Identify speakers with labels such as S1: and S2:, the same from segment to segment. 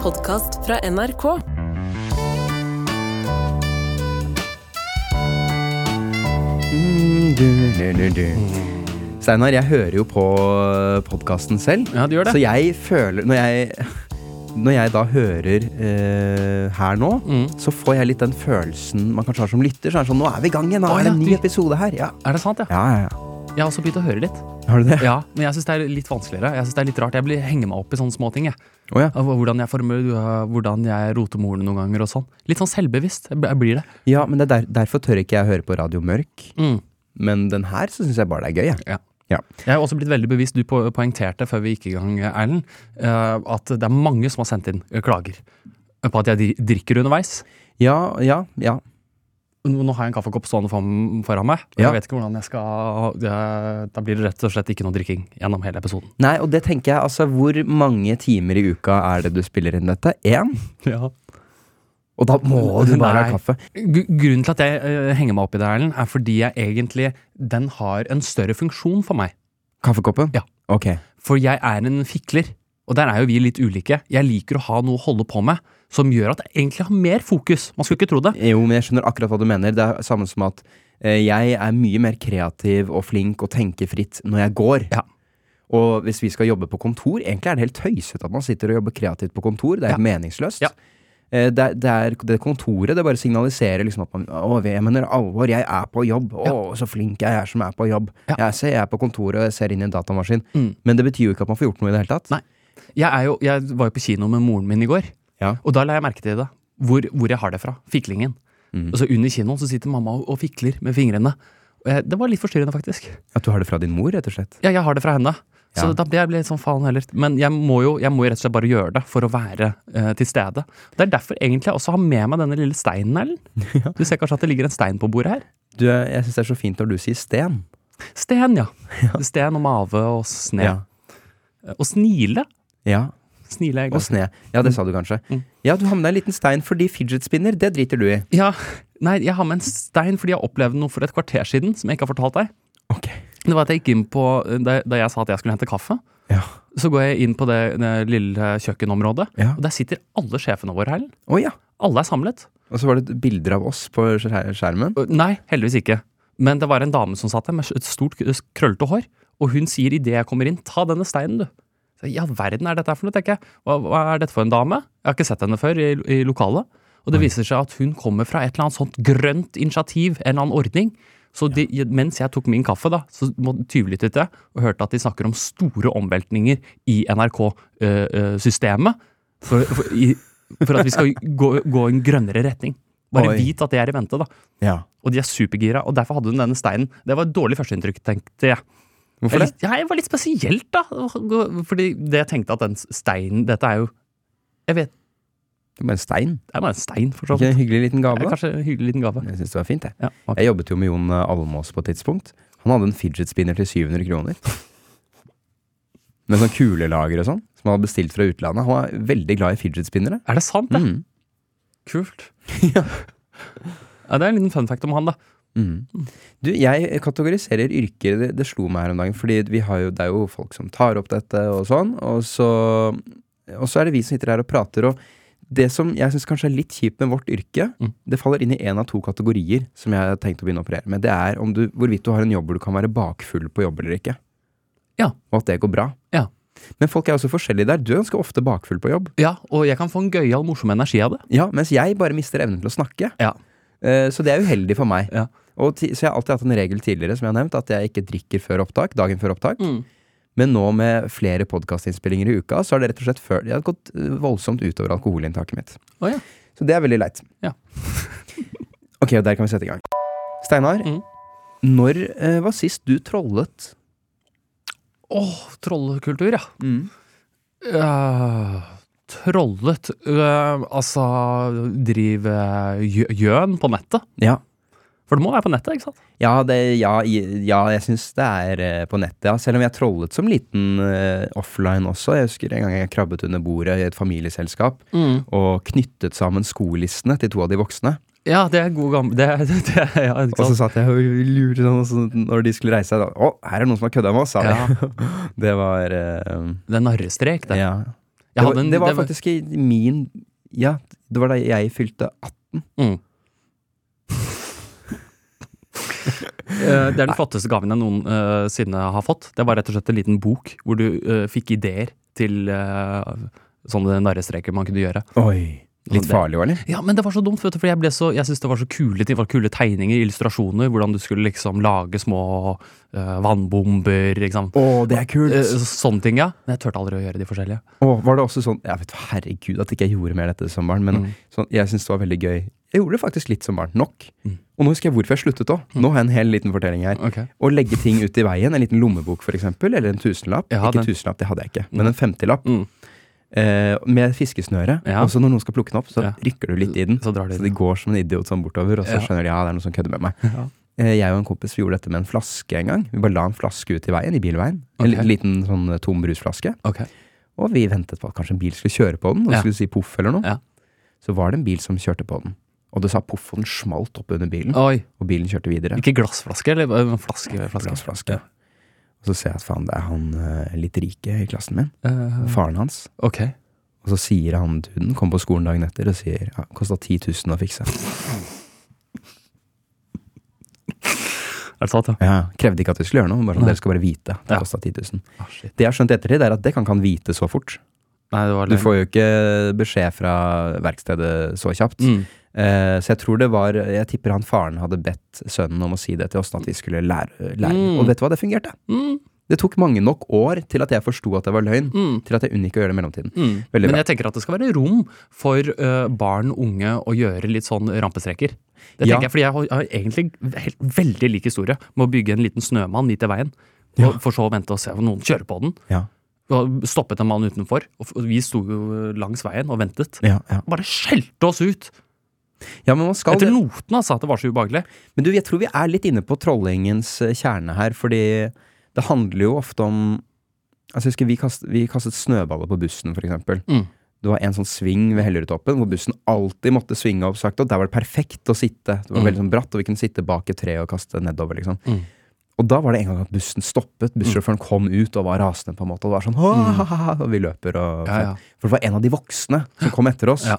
S1: podkast fra NRK.
S2: Du, du, du, du. Steinar, jeg hører jo på podkasten selv.
S3: Ja, du gjør det.
S2: Så jeg føler Når jeg, når jeg da hører eh, her nå,
S3: Mm.
S2: så får jeg litt den følelsen man kanskje har som lytter. Så er det sånn, Nå er vi i gang igjen! Nå
S3: Å,
S2: er det en
S3: ja,
S2: ny
S3: du-
S2: episode her. Ja,
S3: Er det sant, ja?
S2: ja, ja. ja.
S3: Jeg har også begynt å høre litt.
S2: Har du det?
S3: Ja, Men jeg syns det er litt vanskeligere. Jeg synes det er litt rart. Jeg blir henger meg opp i sånne småting. jeg.
S2: Å, ja.
S3: Av Hvordan jeg former, ja, hvordan jeg roter med ordene noen ganger og sånn. Litt sånn selvbevisst. Jeg b- jeg blir det.
S2: ja, men det er der, derfor tør ikke jeg høre på Radio Mørk.
S3: Mm.
S2: Men den her så syns jeg bare det er gøy. jeg.
S3: Ja.
S2: Ja.
S3: Jeg har også blitt veldig bevisst, du po- poengterte før vi gikk i gang, Erlend, eh, at det er mange som har sendt inn eh, klager på at jeg dri- drikker underveis.
S2: Ja, ja, ja.
S3: Nå nå har jeg en kaffekopp stående foran foran meg, og
S2: Ja.
S3: jeg vet ikke hvordan jeg skal det- Da blir det rett og slett ikke noe drikking gjennom hele episoden.
S2: Nei, og det tenker jeg, altså Hvor mange timer i uka er det du spiller inn dette? Én?
S3: Ja.
S2: Og da må du bare
S3: Nei.
S2: ha kaffe.
S3: Gru- Grunnen til at jeg eh, henger meg opp i det, Erlend, er fordi jeg egentlig Den har en større funksjon for meg.
S2: Kaffekoppen?
S3: Ja.
S2: Ok.
S3: For jeg er en fikler, og der er jo vi litt ulike. Jeg liker å ha noe å holde på med som gjør at jeg egentlig har mer fokus. Man skulle ikke tro det.
S2: Jo, men jeg skjønner akkurat hva du mener. Det er samme som at eh, jeg er mye mer kreativ og flink og tenker fritt når jeg går.
S3: Ja.
S2: Og hvis vi skal jobbe på kontor Egentlig er det helt tøysete at man sitter og jobber kreativt på kontor. Det er helt meningsløst.
S3: Ja.
S2: Eh, Det, er- det er det kontoret det bare signaliserer liksom at man Å, jeg mener alvor, jeg er på jobb. Å, så flink jeg er som er på jobb.
S3: Ja.
S2: Jeg, ser, jeg er på kontoret og jeg ser inn i en datamaskin.
S3: Mm.
S2: Men det betyr jo ikke at man får gjort noe i det hele tatt.
S3: Nei. Jeg, er jo, jeg var jo på kino med moren min i går,
S2: Ja.
S3: og da la jeg merke til det. Hvor, hvor jeg har det fra. Fiklingen. Og så under kinoen så sitter mamma og, og fikler med fingrene. Og jeg, det var litt forstyrrende, faktisk.
S2: At du har det fra din mor, rett og slett.
S3: Ja, jeg har det fra henne. Så
S2: Ja.
S3: da ble jeg litt sånn faen heller. Men jeg må jo jeg må jo rett og slett bare gjøre det for å være eh, til stede. Det er derfor egentlig jeg også har med meg denne lille steinen, Erlend. Du ser kanskje at det ligger en stein på bordet her?
S2: Du, jeg syns det er så fint når du sier sten.
S3: Sten, ja. Sten og mave og sne. Og snile.
S2: ja.
S3: Snile er
S2: Og
S3: godt.
S2: sne. Ja, Mm. det sa du kanskje. Ja, du har med deg en liten stein fordi fidget spinner, det driter du i.
S3: Ja, nei, jeg har med en stein fordi jeg opplevde noe for et kvarter siden som jeg ikke har fortalt deg.
S2: Ok.
S3: Det var at jeg gikk inn på, eh, Da da jeg sa at jeg skulle hente kaffe,
S2: Ja.
S3: så går jeg inn på det, det lille kjøkkenområdet,
S2: Ja.
S3: og der sitter alle sjefene våre, Erlend.
S2: Å ja.
S3: Alle er samlet.
S2: Og så var det bilder av oss på skjer- skjermen.
S3: Uh, Nei, heldigvis ikke. Men det var en dame som satt der med et stort k- krøllete hår, og hun sier idet jeg kommer inn, ta denne steinen, du. Så jeg, I all verden er dette her for noe, tenker jeg. Hva, hva er dette for en dame? Jeg har ikke sett henne før i, i lokalet. Og det viser seg at hun kommer fra et eller annet sånt grønt initiativ, en eller annen ordning. Så de, mens jeg tok min kaffe, da, så må- tyvlyttet jeg og hørte at de snakker om store omveltninger i NRK-systemet for, for, i- for at vi skal gå, gå i en grønnere retning. Bare
S2: Oi.
S3: vit at det er i vente, da.
S2: Ja.
S3: Og de er supergira, og derfor hadde hun denne steinen. Det var et dårlig førsteinntrykk, tenkte jeg.
S2: Hvorfor det?
S3: Jeg, ja, jeg var litt spesielt, da. Fordi det jeg tenkte at den steinen Dette er jo Jeg vet
S2: Det var en stein.
S3: Det er bare en stein, for så
S2: Ikke
S3: vidt.
S2: en hyggelig liten
S3: Det
S2: gave.
S3: er
S2: da?
S3: kanskje en hyggelig liten gave.
S2: Jeg syns det var fint, jeg.
S3: Ja, ok.
S2: Jeg jobbet jo med Jon eh, Almås på et tidspunkt. Han hadde en fidget spinner til 700 kroner. Med sånn kulelager og sånn, som han hadde bestilt fra utlandet. Han var veldig glad i fidget spinnere.
S3: Er det sant, det?
S2: Mm.
S3: Kult. ja, det er en liten fun fact om han, da.
S2: Mm. Du, jeg kategoriserer yrker. Det, det slo meg her om dagen. Fordi vi har jo, det er jo folk som tar opp dette og sånn. Og så, og så er det vi som sitter her og prater. Og det som jeg syns kanskje er litt kjipt med vårt yrke,
S3: Mm.
S2: det faller inn i én av to kategorier som jeg har tenkt å begynne å operere med. Det er om du, hvorvidt du har en jobb hvor du kan være bakfull på jobb eller ikke.
S3: Ja.
S2: Og at det går bra.
S3: Ja.
S2: Men folk er også forskjellige der. Du er ganske ofte bakfull på jobb.
S3: Ja, og jeg kan få en gøyal, morsom energi av det.
S2: Ja, mens jeg bare mister evnen til å snakke.
S3: Ja.
S2: Eh, Så det er uheldig for meg.
S3: Ja.
S2: Og ti, så jeg har alltid hatt en regel tidligere som jeg har nevnt, at jeg ikke drikker før opptak, dagen før opptak.
S3: Mm.
S2: Men nå med flere podkastinnspillinger i uka, så har det rett og slett før, det har gått eh, voldsomt utover alkoholinntaket mitt.
S3: Å ja.
S2: Så det er veldig leit.
S3: Ja.
S2: ok, og der kan vi sette i gang. Steinar,
S3: Mm.
S2: når eh, var sist du trollet?
S3: Åh, trollkultur, ja. Øh, trollet øh, Altså, drive gjø- gjøn på nettet.
S2: Ja.
S3: For det må være på nettet, ikke sant?
S2: Ja, det, ja, i- ja, jeg syns det er eh, på nettet, ja. Selv om jeg trollet som liten eh, offline også. Jeg husker en gang jeg krabbet under bordet i et familieselskap
S3: Mm.
S2: og knyttet sammen skolissene til to av de voksne.
S3: Ja, det er god gammel det, det, det, ja,
S2: Og
S3: ikke
S2: så
S3: sant?
S2: satt jeg og lurte sånn, og så når de skulle reise seg, da Å, her er det noen som har kødda med oss, sa de.
S3: Ja,
S2: Det var eh,
S3: det er narrestrek, det.
S2: ja. Det
S3: Jeg
S2: var,
S3: hadde en,
S2: det var faktisk i min Ja, det var da jeg fylte 18.
S3: Mm. Eh, det er den flotteste gaven jeg noensinne har fått. Det var rett og slett en liten bok hvor du eh, fikk ideer til eh, sånne narrestreker man kunne gjøre.
S2: Oi. Litt
S3: det-
S2: farlig, var det?
S3: Ja, men det var så dumt, vet du, for jeg, ble så, jeg syntes det var så kule, ting, det var kule tegninger, illustrasjoner, hvordan du skulle liksom lage små eh, vannbomber, ikke sant.
S2: Å, det er kult!
S3: Eh, sånne ting, ja. Men jeg turte aldri å gjøre de forskjellige.
S2: Åh, var det også sånn Jeg vet herregud at ikke jeg gjorde mer dette som barn, men
S3: Mm.
S2: sånn, jeg syns det var veldig gøy. Jeg gjorde det faktisk litt som barn. Nok.
S3: Mm.
S2: Og nå husker jeg hvorfor jeg sluttet òg. Nå har jeg en hel liten fortelling her. Å legge ting ut i veien, en liten lommebok f.eks., eller en tusenlapp.
S3: Ja,
S2: ikke
S3: den-
S2: tusenlapp, det hadde jeg ikke,
S3: Mm.
S2: men en femtilapp.
S3: Mm.
S2: Eh, med fiskesnøre.
S3: Ja.
S2: Og så når noen skal plukke den opp, så
S3: Ja.
S2: rykker du litt i den.
S3: Så drar de
S2: Så de går som en idiot sånn bortover, og så
S3: Ja.
S2: skjønner de ja, det er noen som kødder med meg.
S3: Ja.
S2: Eh, Jeg og en kompis vi gjorde dette med en flaske en gang. Vi bare la en flaske ut i veien, i bilveien. En
S3: Ok.
S2: li- liten sånn eh, tom brusflaske.
S3: Ok.
S2: Og vi ventet på at kanskje en bil skulle kjøre på den, og
S3: Ja.
S2: skulle si poff eller noe.
S3: Ja.
S2: Så var det en bil som kjørte på den. Og det sa poff, og den smalt opp under bilen,
S3: Oi.
S2: og bilen kjørte videre.
S3: Ikke glassflaske, eller eh, flaske? flaske.
S2: Glassflaske. Og så ser jeg at faen, det er han eh, litt rike i klassen min.
S3: Eh,
S2: Faren hans.
S3: ok.
S2: Og så sier han duden, kom på skolen dagen etter og sier ja, kosta 10 000 å fikse.
S3: Er det sant, ja?
S2: Ja, krevde ikke at vi skulle gjøre noe, bare sånn,
S3: Nei.
S2: dere skal bare vite. Det
S3: Ja.
S2: kosta 10 000.
S3: Ah, shit.
S2: Det jeg har skjønt i ettertid, er at det kan ikke han vite så fort.
S3: Nei, det var
S2: Du
S3: løgn.
S2: får jo ikke beskjed fra verkstedet så kjapt.
S3: Mm.
S2: Eh, så jeg tror det var Jeg tipper han faren hadde bedt sønnen om å si det til oss, sånn at vi skulle lære. lære.
S3: Mm.
S2: Og vet du hva, det fungerte.
S3: Mm.
S2: Det tok mange nok år til at jeg forsto at det var løgn,
S3: Mm.
S2: til at jeg unngikk å gjøre det i mellomtiden.
S3: Mm.
S2: Veldig
S3: Men
S2: bra.
S3: jeg tenker at det skal være rom for eh, barn unge å gjøre litt sånn rampestreker. Det
S2: Ja.
S3: tenker jeg, fordi jeg har, jeg har egentlig helt, veldig lik historie med å bygge en liten snømann midt i veien.
S2: Ja.
S3: Og for så å vente og se om noen kjører på den.
S2: Ja.
S3: Og stoppet en mann utenfor, og f- og vi sto jo langs veien og ventet.
S2: Ja, ja.
S3: Bare skjelte oss ut!
S2: ja, men man skal
S3: Etter
S2: det.
S3: noten, altså. At det var så ubehagelig.
S2: Men du, jeg tror vi er litt inne på trollingens eh, kjerne her, fordi det handler jo ofte om Altså, jeg husker vi, kast, vi kastet snøballer på bussen, for eksempel.
S3: Mm.
S2: Det var en sånn sving ved Hellerudtoppen hvor bussen alltid måtte svinge opp sakte, og der var det perfekt å sitte. Det var
S3: Mm.
S2: veldig sånn bratt, og vi kunne sitte bak et tre og kaste nedover, liksom.
S3: Mm.
S2: Og da var det en gang at bussen stoppet, bussjåføren kom ut og var rasende, på en måte, og det var sånn ha-ha-ha, og vi løper og
S3: Mm. Ja, ja.
S2: For det var en av de voksne som kom etter oss.
S3: Ja.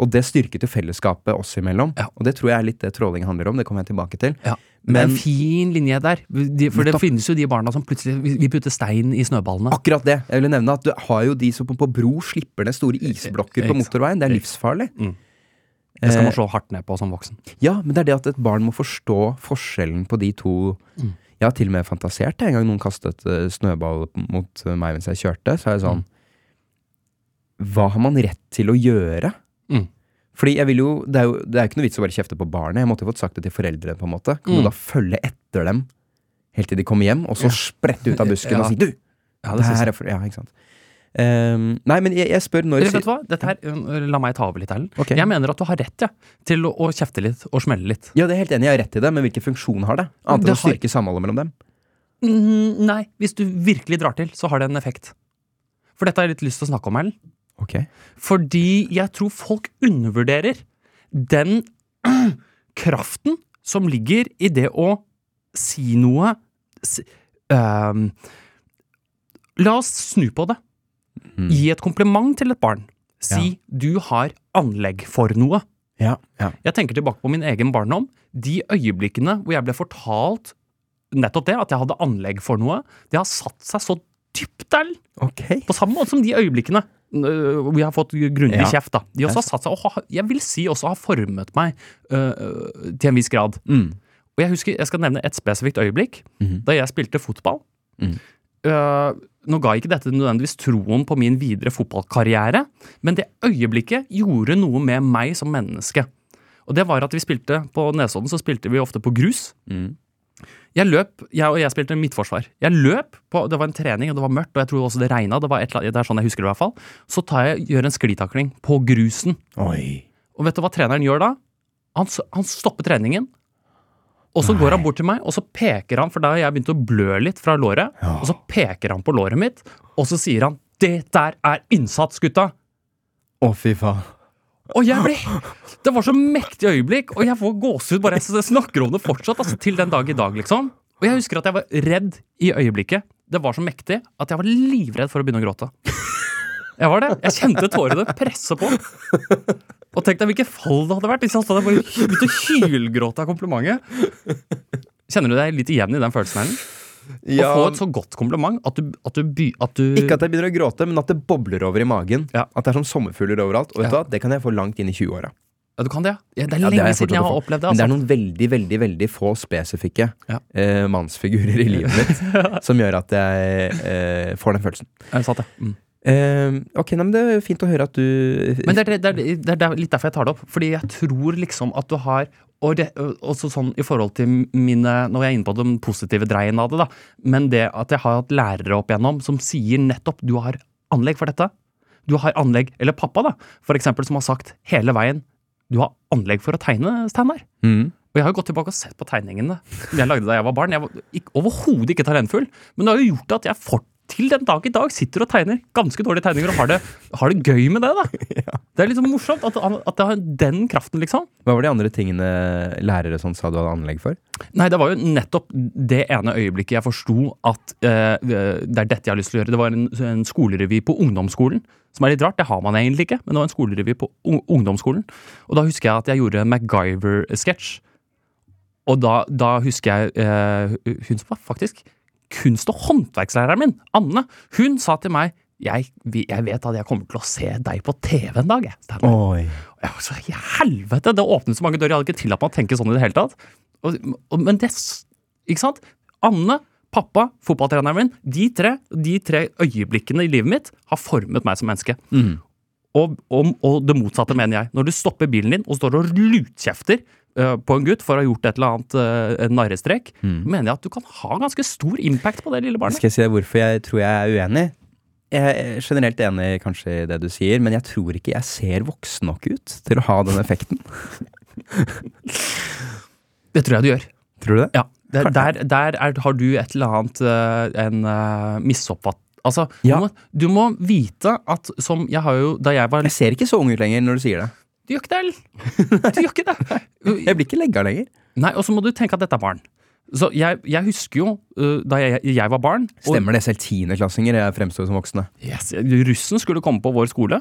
S2: Og det styrket jo fellesskapet oss imellom.
S3: Ja.
S2: Og det tror jeg er litt det tråling handler om. Det kommer jeg tilbake til.
S3: Ja. det er
S2: Men
S3: en fin linje der. De, for det
S2: Nettopp.
S3: finnes jo de barna som plutselig vi- Vi putter stein i snøballene.
S2: akkurat det. Jeg ville nevne at du har jo de som på, på bro slipper ned store isblokker på
S3: Ikke sant.
S2: motorveien. Det er livsfarlig.
S3: Mm. Det skal man
S2: Eh,
S3: slå hardt ned på som voksen.
S2: Ja, men det er det at et barn må forstå forskjellen på de to.
S3: Mm.
S2: Jeg har til og med fantasert det. En gang noen kastet eh, snøball mot eh, meg mens jeg kjørte, så er jeg sånn Hva har man rett til å gjøre?
S3: Mm.
S2: Fordi jeg vil jo, det er jo det er jo ikke noe vits å bare kjefte på barnet. Jeg måtte jo fått sagt det til foreldrene, på en måte. Kan
S3: Mm.
S2: du da følge etter dem helt til de kommer hjem, og så
S3: Ja.
S2: sprette ut av busken
S3: Ja.
S2: og si 'du'?
S3: Ja,
S2: det her er for, ja, ikke sant. Ehm, nei, men jeg, jeg spør når
S3: Eller, vet du hva? Dette her, øh, la meg ta over litt, Erlend.
S2: Ok.
S3: Jeg mener at du har rett ja, til å, å kjefte litt og smelle litt.
S2: Ja, det er helt enig, jeg har rett i det, men hvilken funksjon har det? Annet enn
S3: Det
S2: å
S3: har-
S2: styrke samholdet mellom dem?
S3: Mm, nei, hvis du virkelig drar til, så har det en effekt. For dette har jeg litt lyst til å snakke om, Erlend.
S2: Ok.
S3: Fordi jeg tror folk undervurderer den kraften som ligger i det å si noe si, øhm, La oss snu på det.
S2: Mm.
S3: Gi et kompliment til et barn. Si 'du har anlegg for noe'.
S2: Ja, ja.
S3: Jeg tenker tilbake på min egen barndom. De øyeblikkene hvor jeg ble fortalt nettopp det, at jeg hadde anlegg for noe, det har satt seg så dypt der.
S2: Ok.
S3: På samme måte som de øyeblikkene øh, hvor jeg har fått grundig
S2: Ja.
S3: kjeft. da. De også
S2: Ja.
S3: har satt seg, og har, jeg vil si også har formet meg øh, øh, til en viss grad.
S2: Mm.
S3: Og jeg husker, jeg skal nevne et spesifikt øyeblikk.
S2: Mhm.
S3: Da jeg spilte fotball.
S2: Mhm.
S3: Øh, nå ga ikke dette nødvendigvis troen på min videre fotballkarriere, men det øyeblikket gjorde noe med meg som menneske. Og det var at vi spilte På Nesodden så spilte vi ofte på grus.
S2: Mm.
S3: Jeg løp, jeg og jeg spilte midtforsvar. Jeg løp på, Det var en trening, og det var mørkt, og jeg tror også det regna. Det, var et eller annet- det er sånn jeg husker det, i hvert fall. Så tar jeg, gjør en sklitakling på grusen.
S2: Oi.
S3: Og vet du hva treneren gjør da? Han, s- han stopper treningen. Og så går han bort til meg, og så peker han, for da har jeg begynt å blø litt fra låret.
S2: Ja.
S3: Og så peker han på låret mitt, og så sier han 'Det der er innsats, gutta'!
S2: Å, fy faen.
S3: Og jeg ble Det var så mektig øyeblikk, og jeg får gåsehud bare jeg snakker om det fortsatt, altså til den dag i dag, liksom. Og jeg husker at jeg var redd i øyeblikket. Det var så mektig at jeg var livredd for å begynne å gråte. Jeg var det. Jeg kjente tårene presse på. Og tenk deg hvilket fall det hadde vært hvis jeg hadde bare hy- begynt å hylgråte av komplimentet. Kjenner du deg litt igjen i den følelsen? Erlend? Å få et så godt kompliment at du, at du, by, at du
S2: Ikke at jeg begynner å gråte, men at det bobler over i magen.
S3: Ja.
S2: At det er som sommerfugler overalt. Og vet du hva, det kan jeg få langt inn i 20-åra.
S3: ja, Du kan det, ja. ja det er
S2: Ja, det
S3: lenge
S2: har jeg
S3: siden jeg
S2: fortsatt
S3: har
S2: å få.
S3: opplevd det.
S2: Men det
S3: Altså.
S2: er noen veldig veldig, veldig få spesifikke
S3: Ja.
S2: eh, mannsfigurer i livet mitt som gjør at jeg eh, får den følelsen.
S3: Jeg satt det. Mm.
S2: Eh, ok, nei, men Det er fint å høre at du
S3: Men det er, det, er, det er- det er litt derfor jeg tar det opp. Fordi jeg tror liksom at du har og det, også sånn i forhold til mine Når jeg er inne på den positive dreien av det, da. Men det at jeg har hatt lærere opp igjennom som sier nettopp du har anlegg for dette. Du har anlegg Eller pappa, da, for eksempel, som har sagt hele veien du har anlegg for å tegne, Steinar.
S2: mm.
S3: Og jeg har jo gått tilbake og sett på tegningene som jeg lagde da jeg var barn. Jeg var ikk- overhodet ikke talentfull, men det har jo gjort at jeg fort- til den dag i dag sitter og tegner ganske dårlige tegninger og har det, har det gøy med det. da. Det er liksom morsomt at, at det har den kraften, liksom.
S2: Hva var de andre tingene lærere sånn sa du hadde anlegg for?
S3: Nei, det var jo nettopp det ene øyeblikket jeg forsto at eh, det er dette jeg har lyst til å gjøre. Det var en, en skolerevy på ungdomsskolen, som er litt rart. Det har man egentlig ikke, men det var en skolerevy på ung- ungdomsskolen. Og da husker jeg at jeg gjorde en MacGyver-sketsj. Og da, da husker jeg eh, Hun som var faktisk kunst- og håndverkslæreren min, Anne, hun sa til meg jeg, vi- jeg vet at jeg kommer til å se deg på TV en dag. jeg, Steinar."
S2: Oi.
S3: Og Jeg var så, «I helvete, det åpnet så mange dører. Jeg hadde ikke tillatt meg å tenke sånn i det hele tatt. Og, og, men det s- Ikke sant? Anne, pappa, fotballtreneren min. De tre, de tre øyeblikkene i livet mitt har formet meg som menneske.
S2: Mm.
S3: Og, og, og det motsatte, mener jeg. Når du stopper bilen din og står og lutkjefter eh, på en gutt for å ha gjort et eller annet eh, en narrestrek, mener jeg at du kan ha ganske stor impact på det lille barnet.
S2: Skal jeg si deg hvorfor jeg tror jeg er uenig? Jeg er generelt enig kanskje i det du sier, men jeg tror ikke jeg ser voksen nok ut til å ha den effekten.
S3: Det tror jeg du gjør.
S2: Tror du det?
S3: Ja, der, der, der er, har du et eller annet eh, en eh, misoppfatt... Altså,
S2: Ja.
S3: du, må, du må vite at som jeg har jo Da jeg var
S2: Jeg ser ikke så ung ut lenger når du sier det.
S3: Du gjør ikke det, Ellen! Du gjør ikke det!
S2: Jeg blir ikke legga lenger.
S3: Nei, og så må du tenke at dette er barn. Så jeg, jeg husker jo eh, da jeg, jeg var barn og-
S2: Stemmer det, selv tiendeklassinger jeg fremstår som voksne.
S3: Yes, russen skulle komme på vår skole.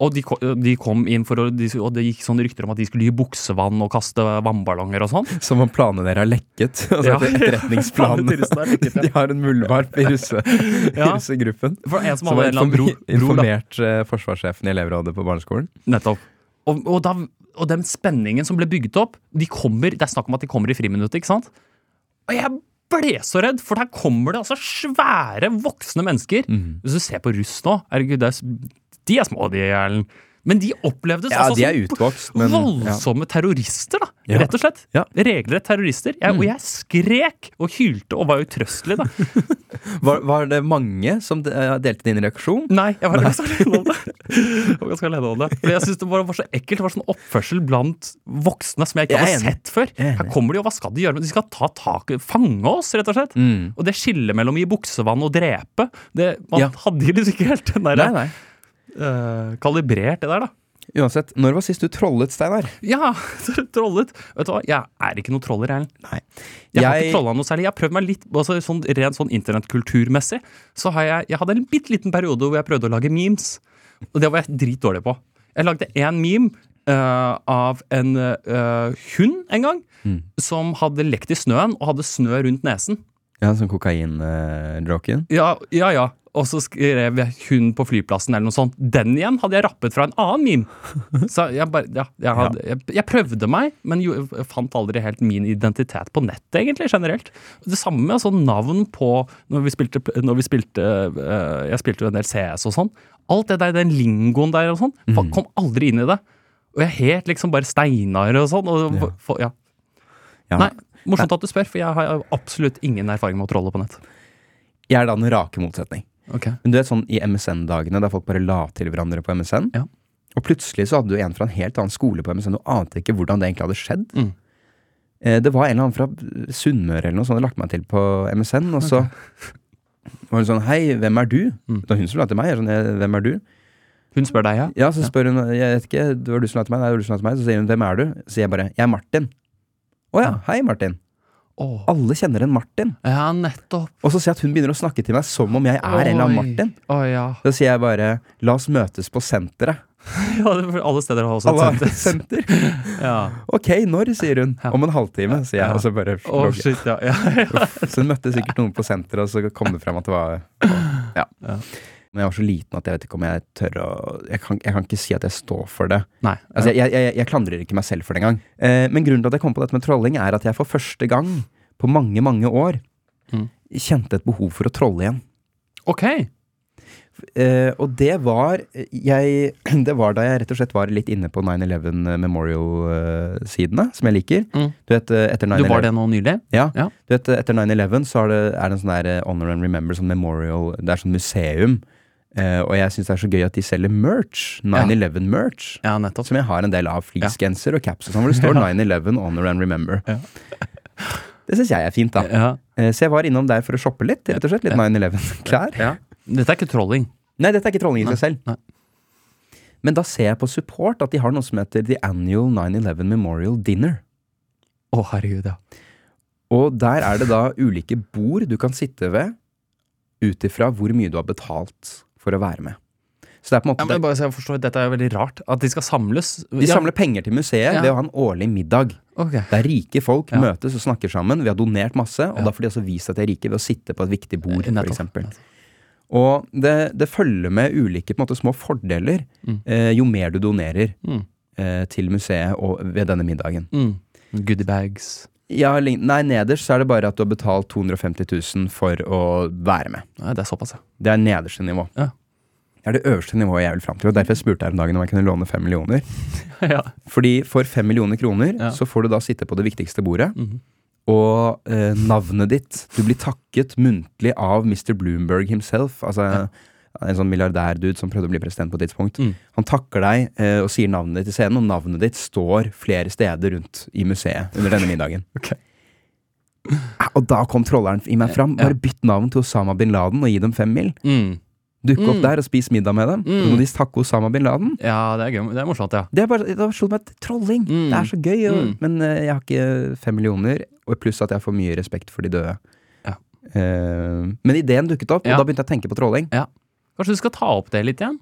S3: Og de, ko- de kom inn for å, de, og det gikk sånne rykter om at de skulle gi buksevann og kaste vannballonger og sånn.
S2: Som om planene dere har lekket. Altså
S3: Ja.
S2: etter etterretningsplanen.
S3: Planene til russen er lekket, ja.
S2: De har en muldvarp i russe,
S3: Ja.
S2: i russegruppen.
S3: For en som
S2: Som har
S3: hadde en eller annen
S2: inform-
S3: bror, bror da,
S2: informert eh, forsvarssjefen i elevrådet på barneskolen.
S3: Nettopp. Og, og, da, og den spenningen som ble bygget opp de kommer, Det er snakk om at de kommer i friminuttet, ikke sant? Og jeg ble så redd, for der kommer det altså svære, voksne mennesker.
S2: Mhm.
S3: Hvis du ser på russ nå Herregud, det er, s- de er små, de, Erlend. Men de opplevdes
S2: Ja,
S3: altså
S2: de er
S3: som
S2: utvokst, men ja.
S3: voldsomme terrorister, da.
S2: Ja.
S3: Rett og slett.
S2: Ja. Mm.
S3: Regelrett terrorister. Jeg, Og jeg skrek og hylte og var utrøstelig, da.
S2: Var, var det mange som eh, delte din reaksjon?
S3: Nei, jeg var ganske alene om det. Jeg var ganske alene om det. For jeg synes det bare var så ekkelt. Det var sånn oppførsel blant voksne som jeg ikke
S2: Jeg er
S3: hadde
S2: enig.
S3: sett før.
S2: Jeg er enig.
S3: Her kommer de, og hva skal de gjøre? Men De skal ta tak, fange oss, rett og slett.
S2: Mm.
S3: Og det skillet mellom å gi buksevann og drepe, det, man
S2: Ja.
S3: hadde jo liksom ikke helt den der,
S2: nei.
S3: eh, kalibrert, det der, da.
S2: Uansett, når var sist du trollet, Steinar?
S3: Ja, trollet. Vet du hva, jeg er ikke noen troller, Erlend.
S2: Nei.
S3: Jeg, har ikke
S2: Jeg,
S3: trollet noe særlig. Jeg har prøvd meg litt altså, sånn, Rent sånn internettkulturmessig Så har jeg, jeg hadde en bitte liten periode hvor jeg prøvde å lage memes. Og det var jeg dritdårlig på. Jeg lagde én meme eh, av en eh, hund en gang som hadde lekt i snøen og hadde snø rundt nesen.
S2: ja, som kokain-joken.
S3: Ja, ja, ja. Og så skrev jeg 'hun på flyplassen' eller noe sånt. Den igjen hadde jeg rappet fra en annen meme. Så jeg, bare, ja, jeg, hadde, jeg, jeg prøvde meg, men jo, jeg fant aldri helt min identitet på nettet, egentlig, generelt. Det samme med sånn navn på Når vi spilte, når vi spilte øh, Jeg spilte jo en del CS og sånn. Alt det der, den lingoen der og sånn, fa- kom aldri inn i det. Og jeg het liksom bare Steinar og sånn. Og, det var- for, ja.
S2: Ja.
S3: Nei, morsomt at du spør, for jeg har absolutt ingen erfaring med å trolle på nett.
S2: Jeg er da den rake motsetning.
S3: Ok
S2: Men du vet sånn i MSN-dagene, der folk bare la til hverandre på MSN.
S3: Ja.
S2: Og plutselig så hadde du en fra en helt annen skole på MSN, og ante ikke hvordan det egentlig hadde skjedd.
S3: Mm.
S2: Eh, Det var en eller annen fra Sunnmøre eller noe som hadde lagt meg til på MSN, og så var hun sånn Hei, hvem er du?
S3: Mm.
S2: Det var hun som la til meg. Jeg er sånn, «Eh, hvem er du?
S3: Hun spør deg, ja?
S2: Ja, så spør hun Jeg vet ikke, det var du som la til meg? Nei, det var du som la til meg. Så sier hun hvem er du? Så sier jeg bare Jeg er Martin. Å ja, hei, Martin.
S3: Åh.
S2: Alle kjenner en Martin.
S3: Ja, nettopp.
S2: Og så ser jeg at hun begynner å snakke til meg som om jeg er en eller annen Martin.
S3: Å ja.
S2: Da sier jeg bare 'la oss møtes på senteret'.
S3: ja det er for alle steder har også
S2: Alle har
S3: et
S2: et
S3: senter.
S2: senter.
S3: Ja.
S2: Ok, når, sier hun. Om en halvtime, sier jeg. Og så bare
S3: Å, shit, ja. ja.
S2: Så hun møtte sikkert noen på senteret, og så kom det frem at det var ja.
S3: Ja.
S2: Men jeg var så liten at jeg vet ikke om jeg tør å Jeg kan, jeg kan ikke si at jeg står for det.
S3: Nei.
S2: Altså, jeg, jeg, jeg klandrer ikke meg selv for det engang. Eh, men grunnen til at jeg kom på dette med trolling, er at jeg for første gang på mange, mange år
S3: Mm.
S2: kjente et behov for å trolle igjen.
S3: Ok.
S2: Eh, og det var jeg, Det var da jeg rett og slett var litt inne på 9-11 Memorial-sidene, eh, som jeg liker.
S3: Mm.
S2: Du vet, eh, etter 9-11
S3: Du var det nå nylig?
S2: Du vet, etter 9-11 så er det, er det en sånn der eh, Honor and Remember, sånn memorial Det er sånn museum. Eh, og jeg syns det er så gøy at de selger merch. 9-11-merch.
S3: Ja, nettopp.
S2: Som jeg har en del av. Fleecegenser og caps og sånn, hvor det står 9-11 Honor and Remember.
S3: Ja.
S2: Det syns jeg er fint, da.
S3: Ja.
S2: Eh, så jeg var innom der for å shoppe litt. rett og slett Litt
S3: Ja.
S2: 9-11-klær.
S3: ja. Dette er ikke trolling.
S2: Nei, dette er ikke trolling i
S3: Nei,
S2: seg selv.
S3: nei.
S2: Men da ser jeg på support at de har noe som heter The Annual 9-11 Memorial Dinner.
S3: Å, herregud, ja.
S2: Og der er det da ulike bord du kan sitte ved ut ifra hvor mye du har betalt for å være med. Så det er på en måte
S3: ja men bare så jeg forstår, Dette er jo veldig rart. At de skal samles.
S2: De samler penger til museet
S3: Ja.
S2: ved å ha en årlig middag.
S3: Ja. ok.
S2: Der rike folk
S3: Ja.
S2: møtes og snakker sammen. Vi har donert masse, og
S3: Ja. Eh,
S2: da får de også vist at de er rike ved å sitte på et viktig bord,
S3: Nettopp.
S2: for eksempel. Og det, det følger med ulike på en måte, små fordeler
S3: Mm.
S2: eh, jo mer du donerer
S3: Mm.
S2: eh, til museet og ved denne middagen.
S3: Mm. Goodiebags.
S2: Ja, lign- nei, nederst så er det bare at du har betalt 250 000 for å være med.
S3: Nei, det er såpass, ja.
S2: Det er nederste nivå.
S3: Ja.
S2: Det er det øverste nivået jeg vil fram til. Og derfor spurte jeg om dagen om jeg kunne låne fem millioner.
S3: ja.
S2: Fordi for fem millioner kroner
S3: Ja.
S2: så får du da sitte på det viktigste bordet.
S3: Mhm.
S2: Og eh, navnet ditt Du blir takket muntlig av Mr. Bloomberg himself. Altså en sånn milliardærdude som prøvde å bli president på et tidspunkt.
S3: Mm.
S2: Han takker deg eh, og sier navnet ditt i scenen, og navnet ditt står flere steder rundt i museet under denne middagen.
S3: Ok.
S2: Eh, Og da kom trolleren i meg fram.
S3: Ja.
S2: Bare bytt navn til Osama bin Laden og gi dem fem mil.
S3: Mm.
S2: Dukke
S3: Mm.
S2: opp der og spise middag med dem.
S3: Mm.
S2: Og så må de takke Osama bin Laden.
S3: Ja, det er gøy. Det er morsomt, ja.
S2: Det er bare, da slo det meg at trolling.
S3: Mm.
S2: Det er så gøy. Og,
S3: Mm.
S2: Men eh, jeg har ikke fem millioner, og pluss at jeg får mye respekt for de døde.
S3: Ja.
S2: Eh, men ideen dukket opp,
S3: Ja.
S2: og da begynte jeg å tenke på trolling.
S3: Kanskje du skal ta opp det litt igjen?